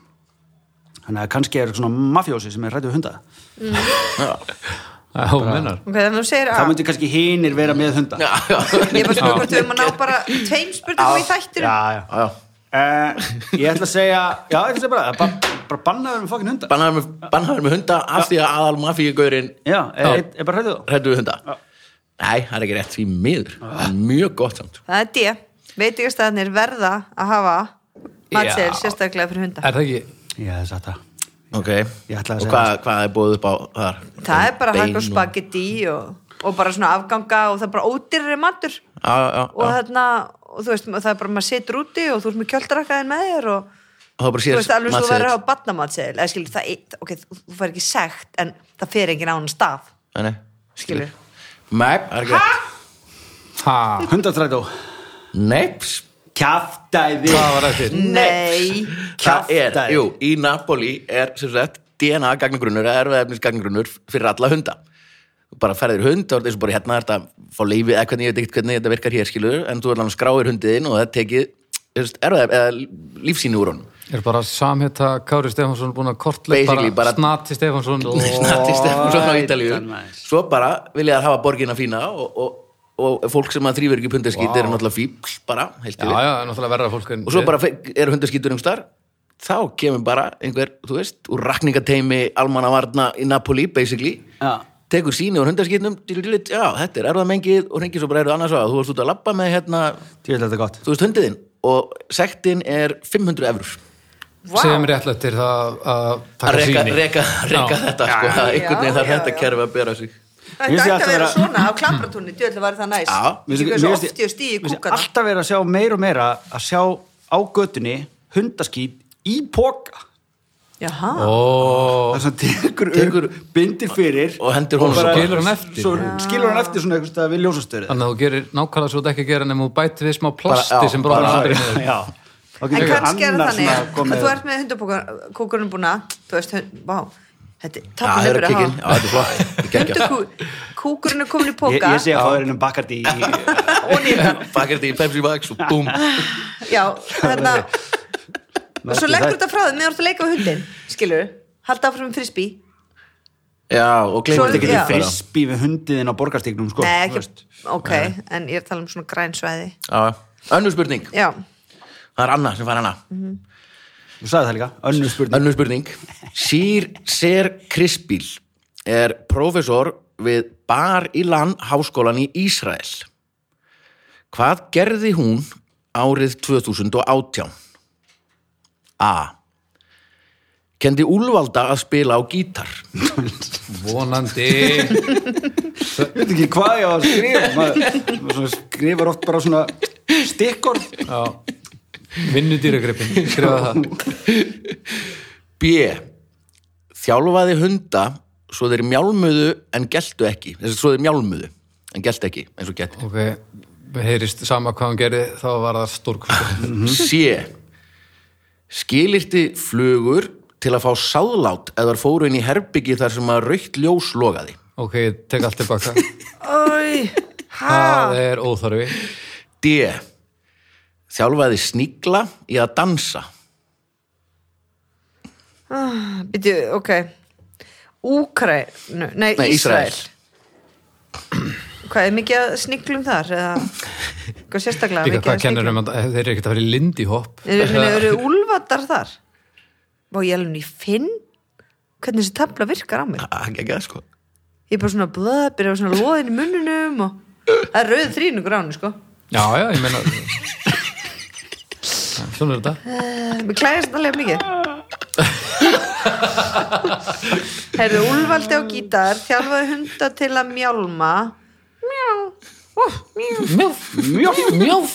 Þannig að kannski er svona mafjósi sem er ræður hunda. Já, mennar. Ok, þannig að þú segir Það að myndi kannski hinir vera með hunda. Já, Ég er bara spurning hvort við erum að ná bara tveim spurningum í þættir já. Já, já. já. Eh, ég ætla að segja, já, ég ætla að segja bara, bara, bara bannaður með fokkin hunda. bannaður með, bannaður með hunda af því að aðal mafíugaurin Já, er, er, er bara ræður þá. hrættu við hunda Nei, það er ekki rétt því miður Það er mjög gott samt Það er D. Veitingastæðanir verða að hafa matsel Já. sérstaklega fyrir hunda. Er það ekki? Já, það er satt það. Ok, Ég ætlaði að og segja hvað, hvað er búið upp á þar? Það er bara Bein hakk og spagetti og, og bara svona afganga og það er bara ódýrri matur Já, já, já og þarna, og þú veist, það er bara maður situr úti og þú veist með kjöldrakkaðin með þér og Og það bara þú sér veist alveg svo verður að matseðill. hafa badnamatseðil eða skilur það, er- ok, þú- þú fær ekki sekt en það fer engin á hann stað Nei, nei. skilur, Nei, það er ekki rétt Ha, Hundatrætó. Neips Kjaftæði Mm. Hvað var eftir? Nei Það er, Kjaftæði. jú, í Napoli er sem sagt DNA gagnagrunnur eða erfaðefnis gagnagrunnur fyrir alla hunda Þú bara ferðir hund, þá er þessu bara hérna þetta fá leifi, eða hvernig, ég veit ekkert hvernig þetta virkar hér skilur, en þú er alveg skráir hundiðinn og það tekið erfaðef, eða lífsýni úr honum Er bara samhita Kári Stefánsson búin að kortlega Basically, bara- snati Stefánsson Snati Stefánsson á Right, Ítalíu en maður. Svo bara vilja þær hafa borgina fína og, og, og fólk sem að þrýfur ekki pundaskýt wow. er náttúrulega fíbl bara, heilt Já, yfir já, það er náttúrulega verra fólk en og svo bara fe- er hundaskýtur um starf þá kemur bara einhver, þú veist, úr rakningateimi almannavarna í Napoli, basically Já. tekur síni úr hundaskýtnum já, þetta er erfðamengið og hringir svo bara erfið annars að þú varst út að labba með hérna Ég held þetta gott þú veist hundiðinn og sektin er 500 eurur Vá. sem réttlættir það að að taka reka, síni reka, reka Já. þetta sko, það er einhvern veginn Já, þarf já, þetta já. kerfi að bera sig Þetta Mér ætti finnst ég að alltaf vera vera- svona á klambratúnni, djöðlega var það næst Já, Ég Mér veit finnst- svo mér oft finnst- ég stíði mér finnst kúkana alltaf verið að sjá meira og meira að sjá á götunni hundaskýt í póka Jaha, Ó, það er svona tekur, tekur Tekur- bindir fyrir og hendir honum bara- svo Skilur hann eftir. svo, skilur hann eftir svona eitthvað við ljósastöru þannig að þú gerir nákvæmlega svo þetta ekki að gera nema þú bæti við smá plasti Bara- já, sem bróðar bara- [laughs] aldrei niður já Þá getur en einhver kannski er annar það svona þannig komið- að þú ert með hundabókurinn búna þú veist, hund, vá þetta Já, það er er að kikkin, já, þetta tapin er flott Þetta er geggjað. hundabókurinn er komin í ég, póka ég sé að fá þér innum bakkart í [laughs] og nýðan Bakar þetta í Pepsi Max og búm já, [laughs] þarna og svo leggur þetta frá þig, meðan þú ert að leika við hundin skilur, halda áfram frisbí Já, og Svo gleymur er þetta Já. ekki fyrir Já, frisbí við hundiðin á borgarstíknum sko, nei, þú ekki, veist. ok, en ég er að tala um svona græn svæði já. Önnur spurning, já, það er Anna sem fær Anna þú sagði það líka, önnur spurning [laughs] Önnur spurning Sýr Ser Krispil er prófessor við Bar Ilan háskólan í Ísrael Hvað gerði hún árið 2018? A Kendi Úlvalda að spila á gítar vonandi ég veit ekki hvað ég á að skrifa maður, maður svona skrifar oft bara svona stikkorð Já. vinnudýragripin skrifa það B Þjálfaði hunda svo þeir mjálmuðu en geltu ekki Þessi svo þeir mjálmuðu en geltu ekki eins og geti ok, heyrist sama hvað hann gerði þá var það stórkvæmst Mhm. C. Skilirti flugur til að fá sáðlát eða þær fóru inn í herbyggi þar sem að raukt ljós logaði. ok, ég tek allt [laughs] tilbaka oi það ha, er óþarfi D. Þjálfaði sníkla í að dansa. byrju, ok Úkræn, nei, Nei, Ísrael. Ísrael Hvað er mikið að sniglum þar? Eða, hvað sérstaklega líka mikið hvað að kennur sniglum? um að þeir eru ekkert að fara í Lindy Hop Eru, eru, [laughs] eru úlfatar þar? Vá, ég alveg ný finn hvernig þessi tabla virkar á mig. Ah, Það er ekki það sko. Ég er bara svona blöð, byrja svona loðin í munninum og það er rauð þrýningur á henni, sko. já, já, ég meina [laughs] svona er þetta Eh, Mér klæðist alveg [laughs] mikið. Herðu, úlfaldi á gítar, þjálfaði hunda til að mjálma. Mjá, ó, mjá. mjóf, mjóf, mjóf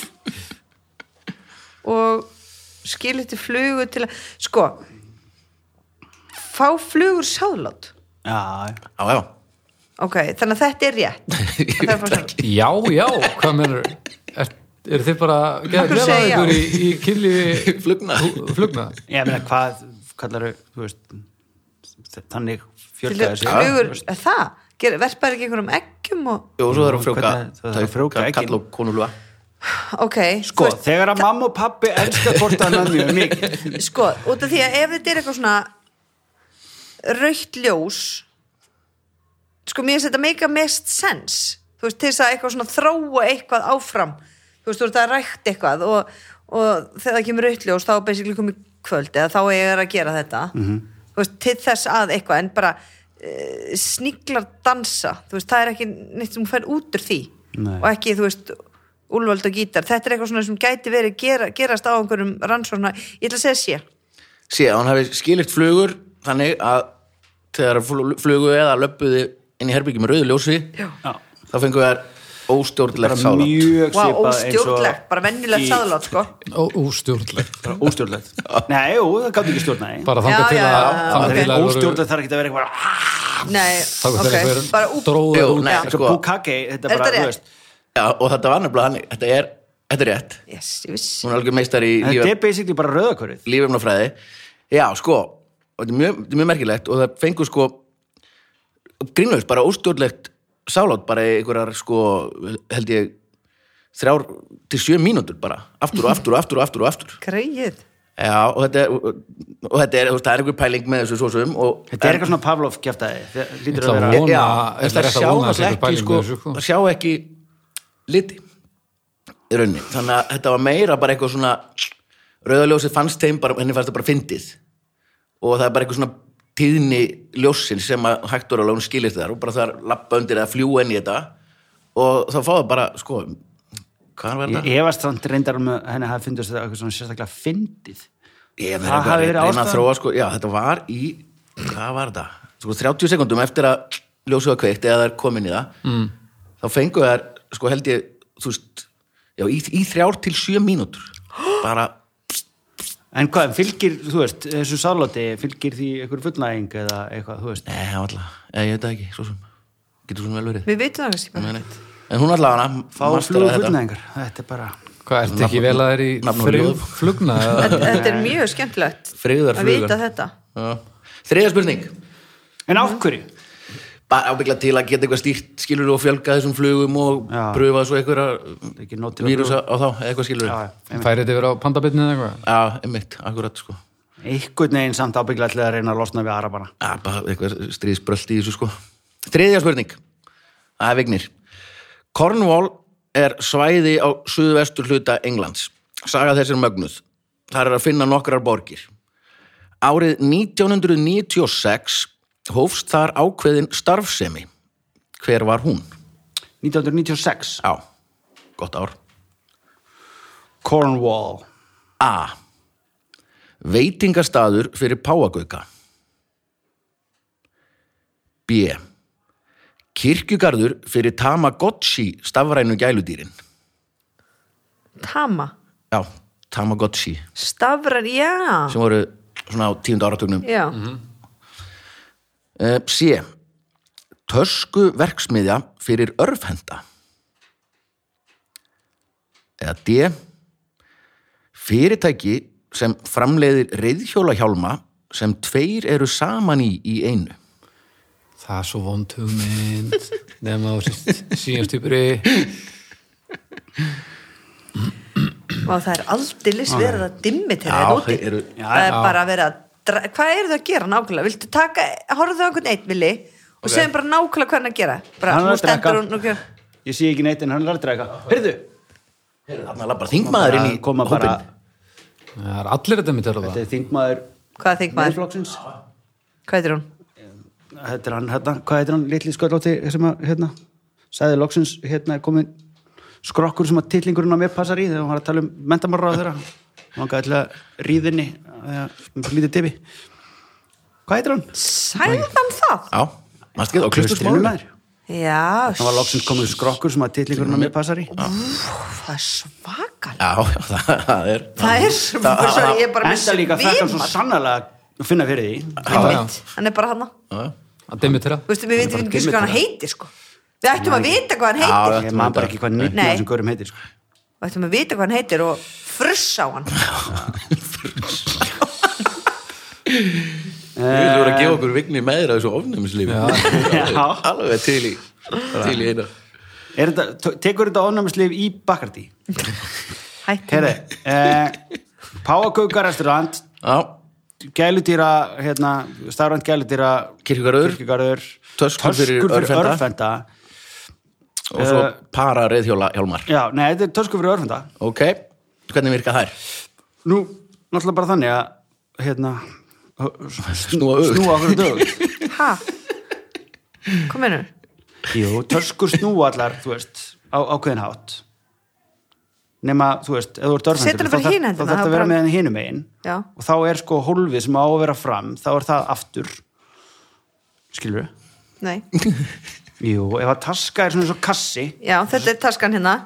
og skiliti flugu til að sko fá flugur sáðlát já, Já, já. ok, þannig að þetta er rétt Ég [laughs] Það er veit bara ekki. já, já, hvað mennur er, er þið bara að gera- Akkur glefa segja já. ykkur í, í kynlífi Flugna. flugna ég meina hvað kallar þú veist þannig Til fjölgaði að sig flugur, er það, Ger- verpar ekki einhverjum eggjum og, Jó, svo þarf að frjóka, Hvernig- það þarf að frjóvga eggin. kall og konulva. ok Sko, þú veist, þegar að mamma og pappi elska hvort annan [laughs] mjög mikið sko, út af því að ef þetta er eitthvað svona raukt ljós sko, mér finnst þetta make a mest sense þú veist, til þess að eitthvað svona þróa eitthvað áfram þú veist, þú veist að rækt eitthvað og, og þegar það kemur raukt ljós þá er basically komið kvöld eða þá er ég að gera þetta -hmm. þú veist, til þess að eitthvað en bara uh, sníklar dansa þú veist, það er ekki neitt sem fær út úr því Nei. og ekki, þú veist úlvöld og gítar, þetta er eitthvað svona sem gæti verið gera, gerast á einhverjum rannsóna ég ætla að segja sér sé að hann hafi skilirt flugur þannig að þegar fl- flugu eða löppuði inn í herbyggi með rauðu ljósi Já. Já. þá fengu þær óstjórnlegt bara sáðlát. Vá, mjög svipað eins og óstjórnlegt, bara í- vennilegt sáðlát sko. Ó- óstjórnlegt bara óstjórnlegt nei, jú, það gæti ekki stjórnaði bara Já, þangað til já, að já, já, þangað til að voru- óstjórnlegt þarf ekki að vera eitthvað "Ah, Nei, Þá kom ok, þegar einhver bara út dróð Jú, út nei, Já. sko, bukake, þetta Er bara, þetta þú rétt? veist Já, og þetta var nefnilega hann, þetta er Þetta er rétt. yes, ég vissi Hún er algjör meistar í En Þetta er basically bara rauðakörið. lífumnafræði. Já, sko, og þetta er mjög, þetta er mjög merkilegt og það fengur sko grínlaust, bara óstjórnlegt sálátt, bara í einhverjar sko, held ég, þrjár til sjö mínútur bara, aftur og aftur og aftur og aftur og aftur. greið Já, og þetta er, og þetta er, þú veist, það er einhver pæling með þessu svo sem og Þetta er eitthvað svona Pavlov kjæftæði. Það lítur Ég að ætla að vera... vona- Já, er það rétt að sjá vona að alltaf sé einhver ekki pæling sko, með þessu, sko. það sjá ekki liti í rauninni, þannig að þetta var meira bara eitthvað svona rauðaljósið fannst þeim bara, henni fannst það bara fyndið og það er bara eitthvað svona tíðni ljósin sem að hægt voru alveg hún skilist þar og bara það er lappa undir eða fljú inn í þetta og þá fá það bara, sko hvað var Ég þetta? efast samt reyndar um að henni hafi fundist þetta eitthvað svona sérstaklega fyndið. Ég það hafi verið reyna að ástæðan? þróa, sko, já, þetta var í hvað var þetta? Sko, 30 sekundum eftir að ljósið var kveikt eða það er komin í það mm. þá fengu þær, sko held ég þú veist, já, í, í þrjár til sjö [gasps] mínútur bara, En hvað, fylgir, þú veist, þessu sáláti, fylgir því einhver fullnæging eða eitthvað, þú veist? nei, það var alltaf eða ég veit það ekki, svo sem, getur svona vel verið við veitum það kannski bara [laughs] Nei, nei. en hún alltaf hana Fá flug masteraði þetta. fullnægingar. Þetta er bara... Hvað, ertu ekki vel að Nafn og það er í ljóð. flugna? þetta, [laughs] þetta er mjög skemmtilegt Frigðar að flugur. vita þetta Já. þriðja spurning En af hverju? bara ábyggla til að geta eitthvað stýrt skilur og fjölga þessum flugum og Já. pröfa svo Ekki nóg einhverja til að vírusa á þá, eða eitthvað skilur Já, já, já, einmitt. Færið þetta verið á pandabitnið eða eitthvað? einmitt, akkurat sko einhvern veginn samt ábygglega ætlaði að reyna að losna við arabana Já, bara eitthvað stríðsbrölt í þessu sko. Þriðja spurning. Það er vignir. Cornwall er svæði á suðvestur hluta Englands. Saga þessir mögnuð. Það er að finna nokkrar borgir. Árið 1996 hófst þar ákveðin starfsemi. Hver var hún? 1996, Á, gott ár. Cornwall A. Veitingastaður fyrir páagauka. B. Kirkjugarður fyrir Tamagotchi stafrænu gæludýrin. Tama, Já, Tamagotchi, stafran, já sem voru svona á tíundu áratugnum. já, Mhm. Eh, C. Tösku verksmiðja fyrir örfhenda. Eða D. Fyrirtæki sem framleiðir reyðhjólahjálma sem tveir eru saman í í einu. Það er svo vond hugmynd nema á síðanstýpuri og það er aldeilis verið að dimmi til þetta úti þeir eru- það er bara verið að dra- hvað eru það að gera nákvæmlega, viltu taka horfðu á einhvern eitt villi og segjum bara nákvæmlega hvað hann er að gera bara, Hann er nú að drekka. stendur hún og gera ég sé ekki neitt en hann lærði eitthvað heyrðu, Þarna lappar þingmaður inn í koma bara, hópinn. Það er allir þetta mitt er á það þetta er þingmaður hvað þink maður, Miðflokksins. hvað heitir hún þetta er hann, hérna, hvað heitir hann litli sköllóti sem að, hérna sagði loksins, hérna er komin skrokkur sem að tillingurinn á mér passar í þegar hún var að tala um mentamára á þeirra hann gæði alltaf ríðinni þegar hún eh, um lítið tipi hvað heitir hann? sagði hann það? Já, maður skilja, og klustur smáður. maður já, hann var loksins komin skrokkur sem að tillingurinn á mér passar í það er svakal Já, já, [laughs] það, það er... það er svakal, ég er bara með enda líka fekk hann svo svimar sannlega að finna fyrir því Einmitt. hann er bara hann Já, já. að dimmi til við veitum við ekki einu sinni hvað hann heitir sko. við ættum að vita hvað hann Já, heitir já. ég man bara ekki hvað nýtt Nei. á þessum görum heitir sko. við ættum að vita hvað hann heitir og frussa á hann Við viljum vera að gefa okkur vigni með þér að þessu ofnæmislífi. Eh. [laughs] Já. Alveg til í, til í eina. Er þetta, t- tekur þetta ofnæmislif í Bakardi hættum herri eh, Páakauka restaurant Já, gæludýra hérna, starfand gæludýra Kirkjugarður. kirkjugarður, Töskur fyrir örvhenta. örfenda og svo Eh, para reyðhjóla hjálmar. já, nei, þetta er töskur fyrir örfenda Ok, hvernig virka þær? nú, náttúrulega bara þannig að hérna Snúa öfugt. snúa okkur dög ha kom einu Jú, töskur snúa allar, þú veist, á ákveðin hátt. Nema, þú veist, ef þú ert Setur örfendur, það bara þarf- hina þá hendina, þarf það að er vera bara- með henni hinum megin. Já. Og þá er sko hólfið sem á að vera fram, þá er það aftur. Skilur við? nei Jú, ef að taska er svona eins og kassi, Já, þetta er taskan hérna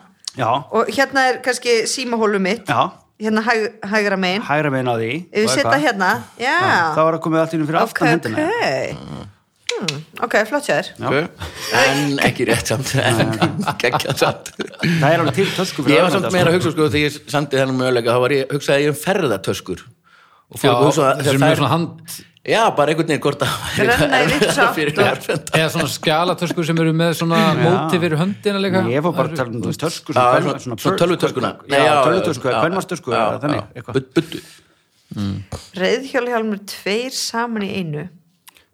já, og hérna er kannski símahólu mitt já, hérna hæg, hægra megin hægra megin á því. ef við og setja eitthvað. hérna, já Já, þá er að komið allt í hennum fyrir ok, ok aftan hendina. ok, flott sér okay. en ekki rétt samt en geggjað samt það er alveg til tösku fyrir ég var örvhenta, samt meira að hugsa sko þegar ég samti þennan möguleika þá var ég, hugsaði ég um ferðatöskur og Já, fólk hugsa þessi er mjög svona hand já, bara einhvern veginn hvort að það væri Renna í vitt erfiðara sátt fyrir og- erfenda eða svona skjalatöskur sem eru með svona móti fyrir höndina líka ég var bara að tala um þú veist, tösku Já, svona- svona tölvutöskuna já, tölvutösku, kvennmastösku þannig, eitthvað buddu reyðhjólhjálmur tveir saman í einu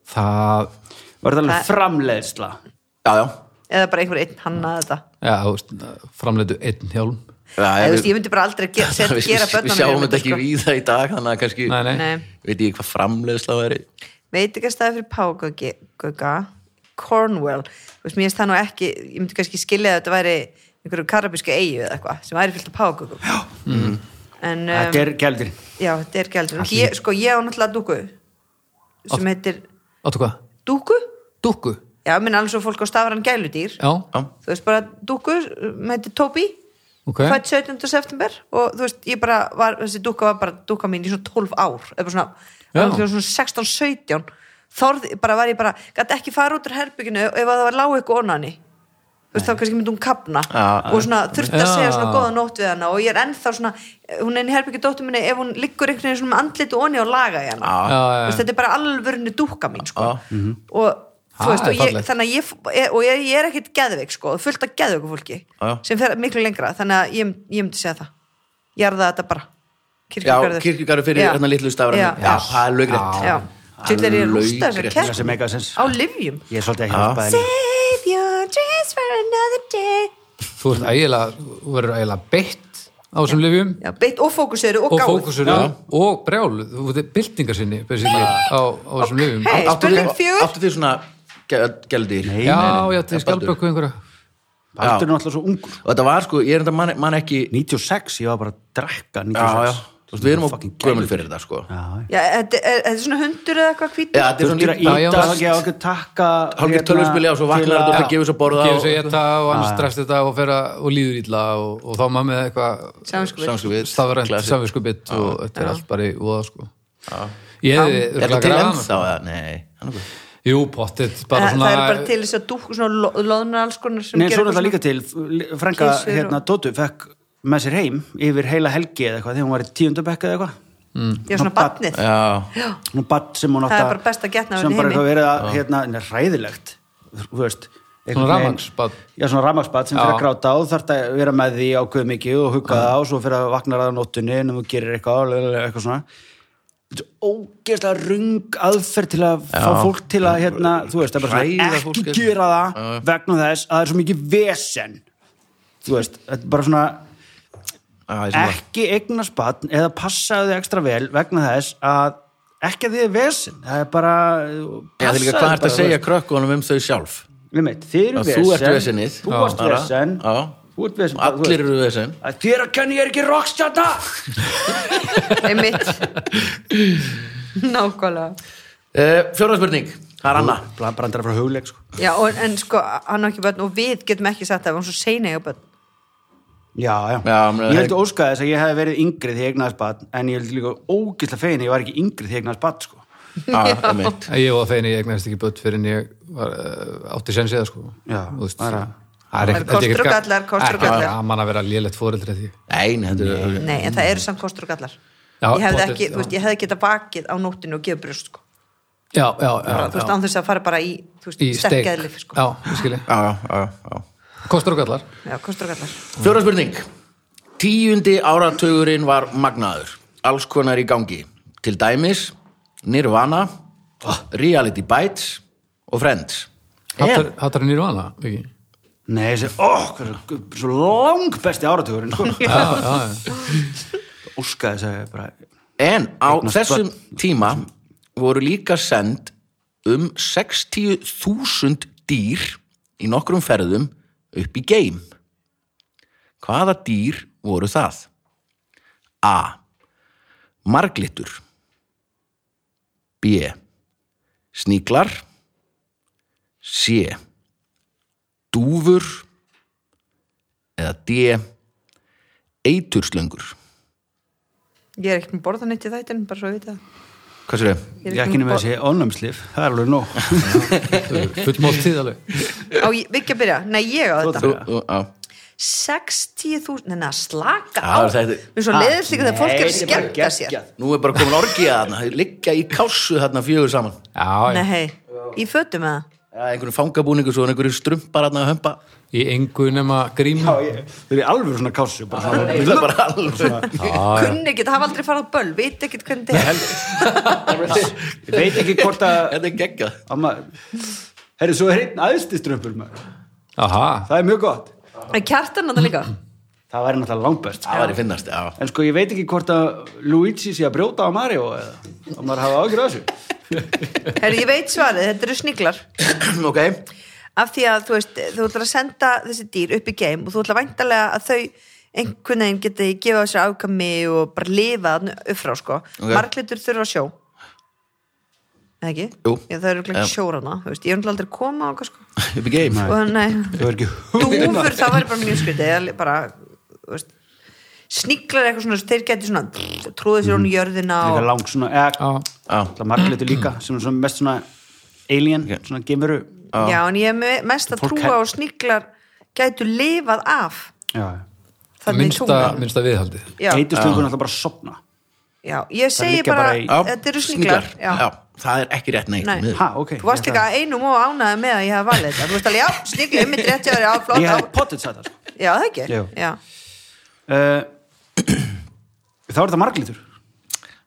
það, var það Það- alveg framleiðsla já, já eða bara einhver einn hannaði þetta já, þú veist, framleitu einn hjálm Já, Eða, ég- þú veist, ég myndi bara aldrei [laughs] ge set, Við- gera við börnunum sko. sjáum þetta ekki víða í dag þannig að kannski nei, nei, Nei. veit ég hvað framleiðsla væri veit ekki að staði fyrir Págögga Cornwall Þú veist, mér finnst það nú ekki, ég myndi kannski skilja að þetta væri einhverju karabísku eigu eða eitthvað sem væri fyllt af Págöggum Mm. en um, þetta er gældir já, þetta er gældur ég, sko, ég á náttúrulega dúku sem heitir áttu hvað, dúku dúkku já, minn alls og fólk á stafran gæludýr já, já, þú veist bara dúku sem heitir Tobi ok okay. fætt 17. september og þú veist, ég bara var, þessi dúkka var bara dúkka mín í svona 12 ár eða bara svona, Já. alveg svona 16, 17 þorði, bara var ég bara gæti ekki fara út úr herbygginu ef að það var lág eitthvað onani þú veist, þá kannski myndi hún kapna Já. og svona þurfti að Já. segja svona góða nótt við hana og ég er ennþá svona, hún er inn í herbygginu dóttur minni ef hún liggur einhvern veginn svona með andlitu onni og laga í hana já, já, Þú já, Mhm. veist, þetta er bara alvörinu dúkka mín sko. Já. og þú Ha, veist, það er og ég, fallegt. þannig að ég, f- e- og ég, ég er ekkit geðveik sko, fullt af geðveiku fólki Já. sem fer miklu lengra, þannig að ég, ég myndi segja það ég er það þetta bara já kirkjugarður kirkjugarður fyrir Já. hérna litlu stafran Já. já, það er löggrétt já, til þegar ég rústa þessar Laugrétt. það kert sem eitthvað sens á livjum ég er svolítið ekki Já. hjálpað henni. save your dreams for another day þú ert eiginlega, þú verður eiginlega beitt á þessum lifjum já, beitt og fókuseru og og gáð fókusur og brjál, þú veit, byltingar sinni basically, á, á þessum lifjum Hey, Áttu spurning þið- fjögur. áttu þið svona gældir Nei, já, nei, nei. já, til skjálpöku einhverja Baldur er náttúrulega svo ungur og þetta var sko, ég er þetta man, man ekki 96, ég var bara að drekka já, já, 96 þú veist, við erum á Fucking gömul gæludýr. fyrir þetta sko já, já, já. já, e- þetta er, þetta er svona hundur eða eitthvað hvítur þetta er Þú svona ert að líka Já, já. íta það ekki á okkur takka Hálfgert tölvuspil, já, svo vaknar til að- þetta Það gefur sér borða gefur og- sér geta og hann strefst þetta og, fer að- og líður illa og, og þá er maður með eitthvað samskupið samsku við stafrænt klasi. samvinskubitt og þetta er allt bara í voða sko ég hefði er örugglega þetta til grafið ennþá eða? nei, hann er hana. jú, pottit, bara það svona er bara til þess að dúk svona lo- loðnar alls konar sem Nei, gera svo er eitthvað það svona- líka til, frænka Kisur og- hérna, Dóttu fekk með sér heim yfir heila helgi eða eitthvað, þegar hún var í tíundabekka eða eitthvað já, svona barnið já, hún badd sem hún átt Það er að- bara besta getnaðurinn sem í bara heimi. eitthvað verið að, hérna, nei, ræðilegt þú veist einhvern Svona veginn- rafmagnsbarn. já, svona ramagsbatt sem fyrir Já. að gráta og þarf að vera með því ákveð mikið og hugga það og svo fyrir að vakna það á nóttunni en þú gerir eitthvað, lalalala, eitthvað svona Þetta er ógeðslega rung aðferð til að fá fólk til að hérna, þú veist, það er bara svona, Hræða ekki fólk, sko. gera það Já. vegna þess að það er svo mikið vesen þú veist, þetta er bara svona já, ég sem það. ekki eignast batn eða passaðu þig ekstra vel vegna þess að ekki að þið er vesinn það er bara Já, það er líka hvað er þetta að segja krökkunum um þau sjálf Limit, þið eru Að vesen þú ert vesenið. þú Já. varst Bara. vesen Já. þú ert vesen bara, þú allir veist. eru þessin að þér að kenna ég er ekki rockstjarna [laughs] Einmitt Nákvæmlega uh, fjóra spurning, það er [laughs] Anna Bra- brandar frá hugleik sko. Já, og, en sko, hann á ekki börn og við getum ekki sagt það, við erum svo seina eiga börn já, já, Já, menn, ég það- held að óska þess að ég hef verið yngri því ég eignast batn en ég held líka ógeðslega fegin að ég var ekki yngri því ég eignast batn sko. já, einmitt. Æ, ég var fein ég eignast ekki börn fyrir en ég var, uh, átti sens eða sko Já, Þú veist, bara- það er Bara kostur og gallar, kostur og gallar. mann að vera lélegt fóreldri að því Nei, nei, þetta er Nei, en það eru samt kostur og gallar Já, Ég hefði pottet, ekki, þú já. veist, ég hefði getað bakið á nóttinu og gefið brjóst, sko já, já, já, Þú veist, já. án þess að fara bara í, þú veist, í steik sterkgeðlif, sko já, ég skilji. Já, já, já, já. kostur og gallar Já, kostur og gallar Fjóra spurning Tíundi áratugurinn var magnaður Alls konar í gangi Til dæmis, Nirvana Reality Bites Og Friends hattar hattar hann í rúana já, nei, þessi, ó, hversu, svo lang besti áratugurinn sko. [laughs] já, já óska þess að ég bara En á Eignast þessum tíma voru líka send um 60.000 dýr í nokkrum ferðum upp í geim. Hvaða dýr voru það? A. Marglitur B. Sníklar C. Dúfur eða D. Eiturslöngur Ég er ekkert með borðan eitt í þættinu, bara svo við það Hvað sér þau? Ég er Ég ekki nema þessi ónæmslif, það er alveg nóg. fullmólt tíð alveg Á, ég- Viggja að byrja, nei ég á Þú, þetta þú, á. 60.000, neina slaka Já, á þetta- Mér er svo leiðist líka þegar fólk er að Nei, þetta bara skemmta sér geggjað. Nú er bara komin orgið að hana, liggja í kásu þarna fjögur saman. já, já, Nei, í fötum eða Ja, einhverjum fangabúningu, svo einhverjum strumpar þarna að hömpa. í engu nema grímu Já, ég- Þau eru alveg svona kásu. bara. Það er bara alveg. Kunni ekkert, hafa aldrei farað á böl, veit ekkert hvernig þetta er Ég veit ekki hvort að... Þetta er geggjað. að maður- Herri, svo er einn aðstiströmpur maður. aha, Það er mjög gott. En kjartan þetta líka Það væri náttúrulega langbæst. Það var í finnast, já. [clears throat] En sko, ég veit ekki hvort að Luigi sé að brjóta á Mario eða að maður hafa ágjur af þessu. Herri, ég veit svarið, þetta eru sniklar ok, af því að þú veist, þú ætlar að senda þessi dýr upp í geim og þú ætlar væntalega að þau einhvern veginn geti gefa á sér afkami og bara lifa þannig upp frá sko Ok. marglitur þurfa að sjó eða ekki? Jú. Já, það eru ekki Já. yeah. sjórana, þú veist, ég er náttúrulega aldrei að koma á eitthvað, sko. upp í game. og nei, Þau er ekki dúfur það væri bara mjög skrítið eða bara, þú veist sniklar eitthvað svona, þeir geti svona trúið sér hún í jörðina Það er og, langt svona, eða já Já. alltaf marglitur líka, sem er svona mest svona alien, svona gemuru. já, en ég er me- mest að Fólk trúa á sniklar gætu lifað af Já. þannig minnsta, tungum. minnsta viðhaldið Já. Heitustungun alltaf bara að sopna. Já, ég segi liggja bara, bara í- Já, þetta eru sníklar, Já. það er ekki rétt neitt. Nei. miður. Ha, ok. Þú varst Ég ekki ætla- að einum og ánæði með að ég hef valið þetta Þú veist alveg, já, sníkli, um mitt rétti ári á flott Ég á, hef potið sætt það. sko. Já, það ekki Jú. Já, Uh, Þá er þetta marglitur.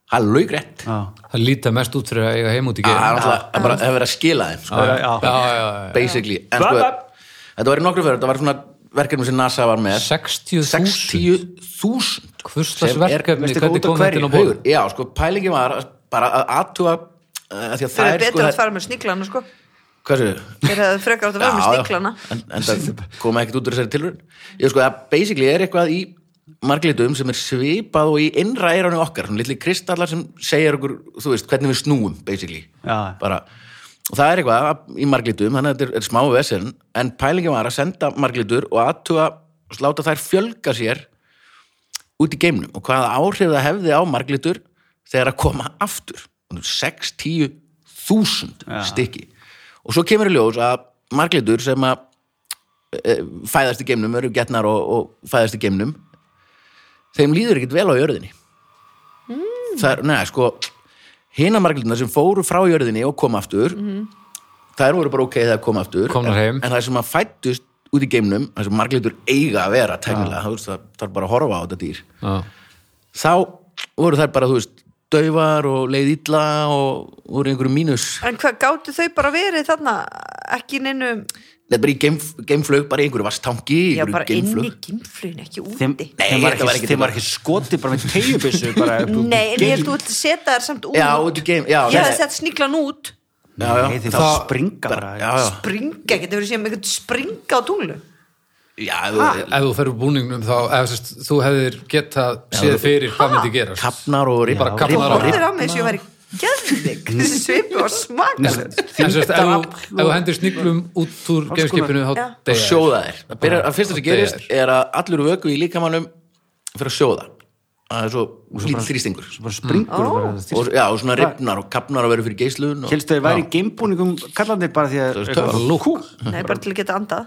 Það er laugrætt. Já. það líta mest út fyrir að eiga heim út Það í er geim náttúrulega það er bara- það er verið að skila þeim, sko. Já, Ah, já. já, já, já. Basically. En Bla, sko, bla. þetta var í nokkru fyrir, þetta var svona verkefni sem NASA var með. 60.000 60.000 hvurstars Sem er- verkefni, veistu hvað, hvernig út af kom þetta hverju? inn á borð Haugur, já, sko, pælingi var að- bara að aðtúa að því að þeir það eru er sko betur að það- fara með sníklana, sko Hvað séu? Þeir hefðu frekar átt að Já, fara með já, sníklana en, en það kom ekkert út úr þessari tilhörun ég sko, það basically er eitthvað í marglitum sem er svipað og í innra eiranu okkar, svona litli kristallar sem segir okkur, þú veist, hvernig við snúum basically, Já. bara og það er eitthvað að- í marglitum, þannig að þetta er, er smá vesinn, en pælingi var að senda marglitur og aðtuga, sláta þær fjölga sér út í geimnum og hvaða áhrif það hefði á marglitur þegar að koma aftur 6, 10, 1000 stykki og svo kemur í ljós að marglitur sem að e, fæðast í geimnum, eru getnar og, og fæðast í geimnum þeim líður ekkert vel á jörðinni Mm. það er, neða, sko hina marglituna sem fóru frá jörðinni og kom aftur Mhm. þær voru bara ok þegar kom aftur Komnar heim. en það sem að fættust út í geimnum það sem marglitur eiga að vera tæknilega, þú veist, það þarf bara að horfa á þetta dýr Já. þá voru þær bara, þú veist, daufar og leið illa og voru í einhverju mínus En hvað, gáttu þau bara verið þarna ekki neinu, Nei, bara í geimf, geimflög, bara í einhverju vastangi já, bara inn í gimflugin, ekki Þeim, úti Nei, þeim var þetta var ekki, ekki- þeim var ekki skotið bara með tegjubissu bara upp úr Nei, en ég held geim. þú ætla að setja þær samt út Já, út í geim, já, Ég hefði nei. sett sníklan út já, já, Nei, þeir það- þá springa bara já, já, Springa, getur verið síðan með eitthvað springa á tunglu já, þú- ef þú ferur búningnum þá ef, sest, þú hefðir getað séð fyrir hvað myndi gerast kafnar og rip Bara og kafnar rip- Þú Bara- horfir á mig þess að ég væri geðvig Þessi svipu var smakalegt en sérst, ef, þú- ef þú hendir sniglum út úr geimskipinu þá Já. og deyja þær. sjóða þær Það byrjar- að fyrsta sem Og deyja gerist er að allur vöku í líkamannum fyrir að sjóða það er svo lítið þrýstingur Svo bara springur Mm. mm. bara og, já, og svona ripnar og kafnar og verður fyrir geislun og, Helst að þið væri í geimbúningum kallandir bara því að er eitthvað töff. lúk. Nei, bara til að geta já, andað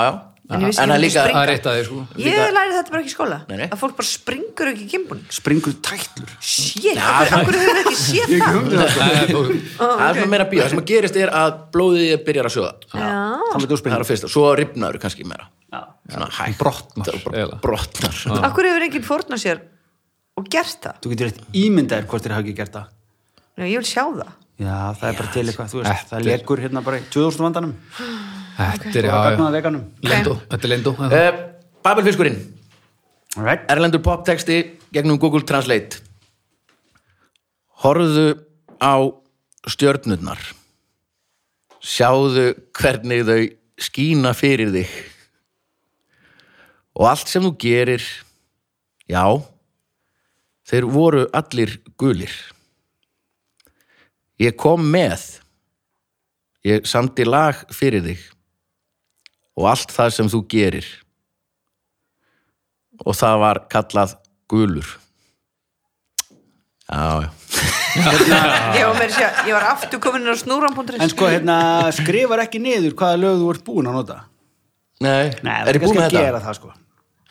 já. En ég vissi ekki það að er líka springa. það er eitt af því sko Ég Líka- læri þetta bara ekki í skóla Nei, nei. að fólk bara springur ekki í kimpunum springur tætlur Shit, af hverju- af hverju höfum við ekki séð það? Nei, þú- það er svona meira bíða, það sem að gerist er að blóðið byrjar að sjóða Já, þá veitum þú það er springur að fyrsta, svo ripnaður kannski meira svona hægt Brotnar, Það er bara eiginlega. brotnar af hverju hefur enginn fórna sér og gert það? þú getur eitt ímyndaðir hvort þér hafa ekki gert það Já, ég vil sjá það já það er bara til eitthvað þú veist Þetta það er- legur hérna bara í 2000 vandanum þetta er já, já. bara gagnaða veganum Lendó, þetta er lendó uh, Babelfiskurinn, right. erlendur poptexti gegnum Google Translate Horðu á stjörnurnar Sjáðu hvernig þau skína fyrir þig og allt sem þú gerir já þeir voru allir gulir Ég kom með ég samti lag fyrir þig og allt það sem þú gerir og það var kallað gulur já, já ég var, meira að segja- ég var aftur komin inn á snúran.is En sko, hérna, skrifar ekki niður hvaða lög þú ert búin að nota. Nei, Nei, það er er ég búin kannski með að gera þetta? það, sko.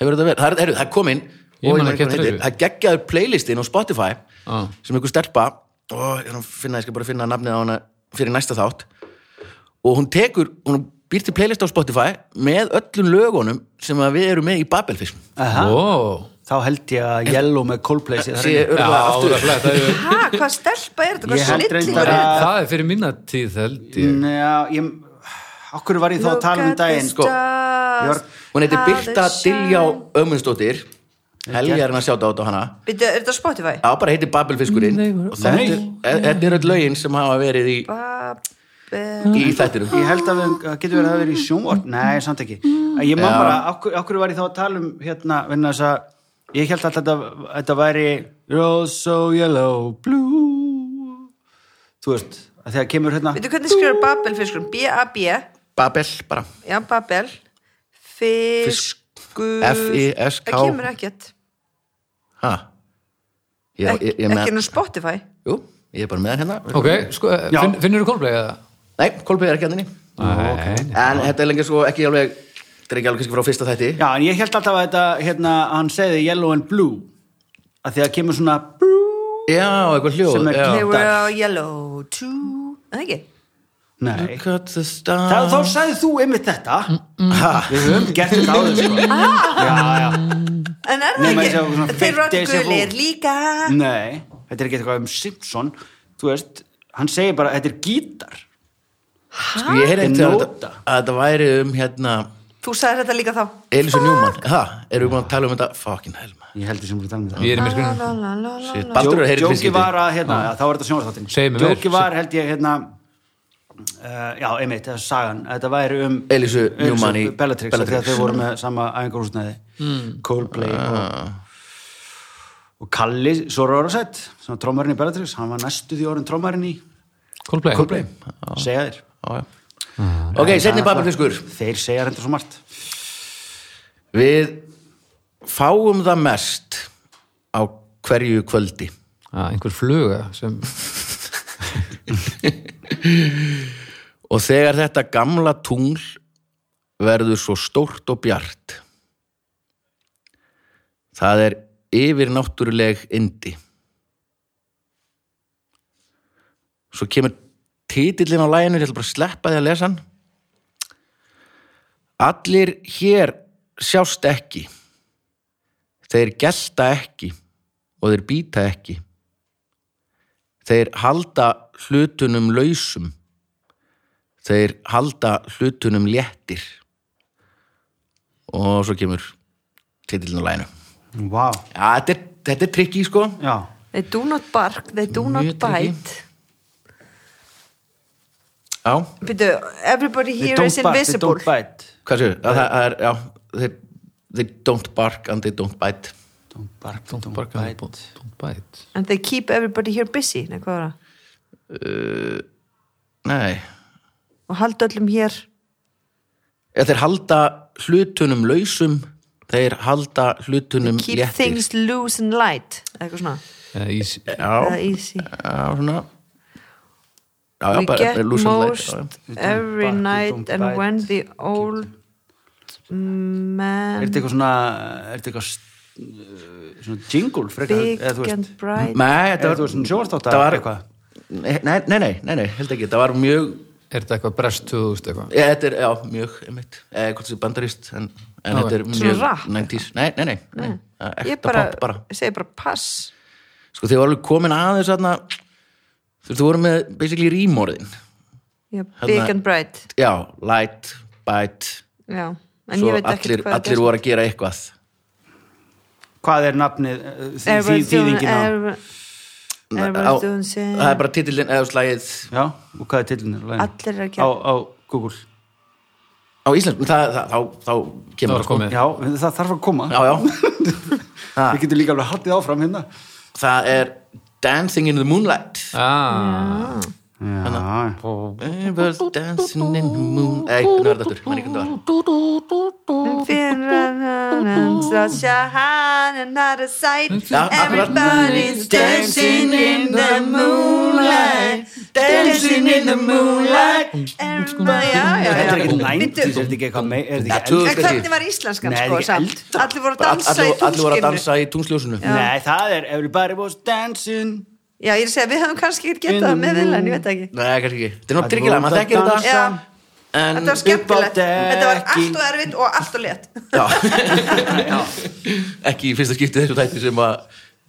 Hefur þetta verið? Það er, heyrðu, það er komin Ég og man man ekki hvað eftir heitir. þessu. Það geggjaður playlistin á Spotify Ah. sem einhver stelpa og ég, er að finna, ég skal bara finna nafnið á hana fyrir næsta þátt og hún tekur, hún býr til playlist á Spotify með öllum lögunum sem að við erum með í Babelfism Aha. Ó, Þá held ég að Yellow með Coldplay sé Sé það. já, örgulega aftur örugglega, það er Hæ, hvað stelpa er þetta? Ég Hvað held reyndar snillingur að- er þetta? það er fyrir minna tíð held ég Mm, Já, ég... Okkur var ég þá að tala um daginn, sko. Ég var... Hún heitir Birta Diljá Ömundsdóttir Helgi er hann að sjáta át á hana Býttu, er þetta Spotify? Já, bara heitir Babelfiskurinn Nei, og þetta er- e- þetta er öll lögin sem hafa verið í, Babel í þættinum Ég held að við, að getur verið að það verið í sjónvort Nei, samt ekki Ég man bara, okkur, okkur var ég þá að tala um hérna, vegna þess að ég held að þetta, þetta væri Rose so yellow blue Þú veist, að þegar kemur hérna Býttu, hvernig skrifur Babel fiskurum? B-A-B Babel bara Já, Babel Fiskur F-I-S-K. Það kemur ekkert Ha? Ég, Ek, ég, ég með, Ekki nú Spotify Jú, ég er bara með hann hérna Ok, sko, eh, Já. finn, finnur þú Coldplay eða? Nei, Kolbeig er ekki hann inni Nei, En þetta er lengi svo ekki alveg Þetta er ekki alveg kannski frá fyrsta þætti Já, en ég held alltaf að þetta, hérna, hann segði yellow and blue að þegar kemur svona Já, eitthvað hljóð Sem er- já. They Nei. were all yellow too Það ekki? Nei, Look at the stars. Þá, þá sagði þú einmitt þetta ha, Við höfum gert þetta áður sko. Já, já, En er það Nei, maður ekki? sjá okkur svona Þeir fake eru déjà vu. gulir líka nei Þetta er ekki eitthvað um Simpson Þú veist, hann segir bara, þetta er gítar Sko, Ég heyrði eftir að Nota. þetta að þetta væri um hérna Þú sagðir þetta líka þá Elísu Njúmann Ha, erum við búin að tala um þetta? Fucking hell man. Ég heldur sem við erum að tala um ég er í mér La, skrunum la, la, la, la, Shit, la. Baldur það er heyrið Jóki fyrst var að, hérna, já, þá var Segðu þetta sjónvarsþáttin mér meir. Jóki var, held ég, hérna Uh, já, einmitt, það er sagan þetta væri um Elísu Newman í Bellatrix. Bellatrix, Bellatrix. þegar þau voru með sama æfingarhúsnæði mm. Coldplay og, og Kalli Sororosett, sem var trómarinn í Bellatrix hann var næstu því orðin trómarinn í Coldplay, Kolbeig segja þér Já, já. Ok, setni babelfiskur þeir segja hendur svo margt Við fáum það mest á hverju kvöldi Ah, einhver fluga sem og þegar þetta gamla tungl verður svo stórt og bjart það er yfir náttúruleg indi svo kemur titillin á læginu ég ætla bara að sleppa því að lesa hann allir hér sjást ekki þeir gelta ekki og þeir býta ekki þeir halda hlutunum lausum þeir halda hlutunum léttir og svo kemur titillin á læginu wow. Já, þetta er, þetta er trikki sko já, They do not bark, they do not Mjög tricky. bite Já, Býttu, everybody they here don't, is bite, they invisible don't bite hvað séu? Það, það er, já, þeir, þeir don't bark and they don't bite don't bark, don't, Don't bark bite, and don't bite And they keep everybody here busy Nei, hvað var það? Nei, Og halda öllum hér Eða, þeir halda hlutunum lausum þeir halda hlutunum Keep léttir things loose and light eða Eitthvað svona Eða ís- Já, Eða easy já, svona Já, já, We bara get loose and light, já, most já. every bark, we night don't and bite. when the old er man þetta eitthvað svona er þetta eitthvað st- uh, svona jingle frekar, big eða þú veist and bright Nei, þetta eða var, þú veist svona sjónvarsþátt það var eitthvað Nei, nei, nei, nei, nei, held ekki, það var mjög Er þetta eitthvað brest 2000 eitthvað? Já, Eh, þetta er, já, mjög, einmitt eða hvort þessi bandarist, en, en Já, þetta er svona mjög rap, Mm. 90s, nei, nei, nei, nei. nei. Ég ekta bara, pop bara segi bara pass sko, þið voru alveg komin aðeins þarna þú veist, þú voru með basically rímorðin já, Big Þarna- and bright já, light, bite já. En ég svo veit ekki allir, hvað allir voru að gera eitthvað hvað er nafnið eh, því því þýðingin á Á- Everyone's doing same það er bara titillin eða slagið já, og hvað er tilnir Allir er að á, gera á Google á Ísland, það, það, þá, þá Það kemur sko. var komið já, það þarf að koma [laughs] já, já, við getum líka alveg haldið áfram hérna það er Dancing in the Moonlight ah, já, I was dancing in the moon Nei, hvernig var þetta aftur, mann ekki hvernig það var Such a hand and not a sight akkurat. Everybody's dancing in the moon in the moonlight Everybody- já, já, já. Þetta er ekki Bíddu, 90s, er þetta ekki eitthvað mei- er þetta ekki Ja, En 2000. eldra? hvernig var íslenskan Nei, sko ekki samt? elda. Allir voru að Bara all- dansa í allir- Allir voru að túnskinu dansa í tungsljósinu Nei, það er Everybody was dancing Já, ég er að segja, við hefum kannski ekki In getað the það með viljan, ég veit það ekki Nei, kannski ekki Þetta er Allir náttúrulega tryggilega, voru maður að þekkir dansa. þetta Já, En þetta sko- var Upp á skemmtilegt dekki. Þetta var allt og erfitt og allt og létt [laughs] Já. ekki í fyrsta skipti þessu tætti sem að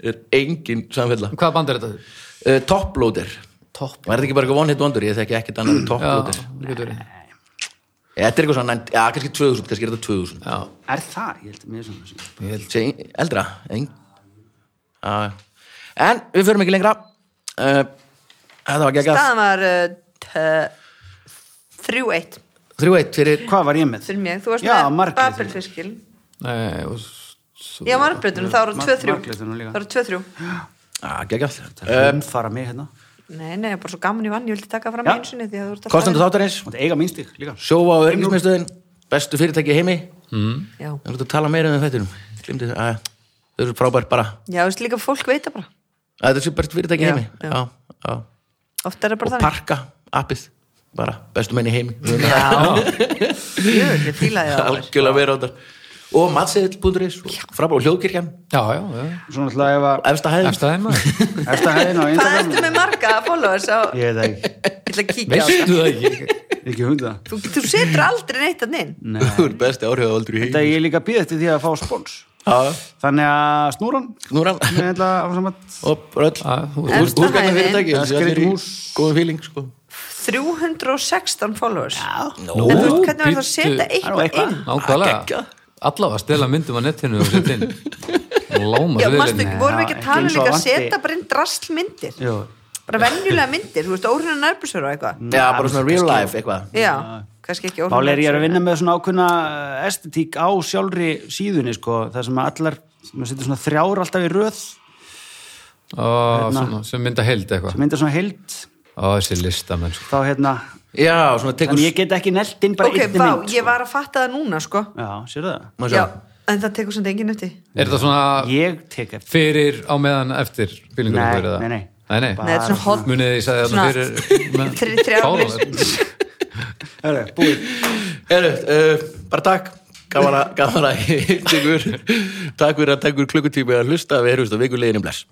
er engin samfella uh, Hvaða band er þetta? Toploader Topp Var þetta ekki bara eitthvað one hit wonder? Ég þekki ekkert annað en Já, Toploader það getur verið. Þetta er eitthvað svona, nænt- já, kannski 2000, kannski er þetta 2000 Já, Er það? Ég held að mér er svona ég held Sé, eldra ein, að, En við förum ekki lengra uh, Þetta var geggjað Staðan var uh, 3-1 3-1 fyrir Hvað var ég með? fyrir mig Þú varst Já, með Margrét. Babelfiskil Nei, Eh, og svo- Já, Margrétun, það voru Mar- 2-3 Margrétun líka. Það voru 2-3 að, geggjað uh, Um, fara mig hérna Nei, nei, bara svo gaman ég vann, ég vildi taka fram Já. einu sinni því að þú ert alltaf- Kostendur þáttarins, Mátti eiga minnstík líka sjófa á örgismiðstöðin Bestu fyrirtæki í heimi Já, Við erum að tala meira um þetta Glimti, að, Þau eru frábært bara já, þú veist líka fólk veit það bara Að Þetta er sér bestu fyrirtæki í Já, heimi já. já, já. Oft er það bara Og þannig parka, appið bara, bestu menn í heimi Jú, ég fílaði það alveg. algjörlega vera á þetta og matseðil.is og frábæð og hljóðkirkjan Já, já, já Svona alltaf ef að efsta hæðin Eftir aðeins maður Eftir hæðin á Hvað Instagram ertu með marga followers á Ég veit það ekki, Ég ætla að kíkja á það Veistu það ekki? ekki um hundla Þú, þú setur aldrei neitt að inn þú er besti áhrifavaldur í Þetta heimi ég er líka býð eftir því að fá spons Já, Þannig að snúran Snúran Ég ætla að saman og röll Já, hú- Efsta húsgagna hæðin. fyrirtæki Já, þessi allir í skreytum hús. góðum fíling sko. 316 followers Nó. En þú veist hvernig var það að bíddu. setja Það er nú eitthvað eitthvað. inn Nákvæmlega Geggjað. Allavega stela myndum á netinu og setja inn Láma Já, manstu, vorum við ekki Já, að tala um ekki eins og líka að vanti. setja bara inn draslmyndir Jú. bara venjulega myndir, þú veist, óhruna nærbúsur og eitthvað já, bara svona real life eitthvað Já, kannski ekki óhruna Mál Mm. er ég er að vinna með svona ákveðna eh, estetík á sjálfri síðunni sko, það sem að allar, maður setur svona þrjár alltaf í röð, Ó, sem mynda held eitthvað mynda svona heild Ó, þessi listamenn sko. þá hérna, já, svona tekur en ég get ekki nelt inn bara Ok, einni vá, mynd sko. ég var að fatta það núna, sko Já, sérðu það? Má Já, sjá. en það tekur sem þetta enginn eftir Er þetta svona Ég tek eftir fyrir á meðan eftir fílingur Nei, ykkur, eða? nei, nei. nei, Nei, Ah, þetta er svona hot Munið því sagði Svona- þetta fyrir með- Þri- þrjár Fáðu listur. þér. Hörru, búið Heru, uh, bara takk gaman að, gaman að hitta ykkur. takk fyrir að takk fyrir klukkutími að hlusta við erum við vikuleginum bless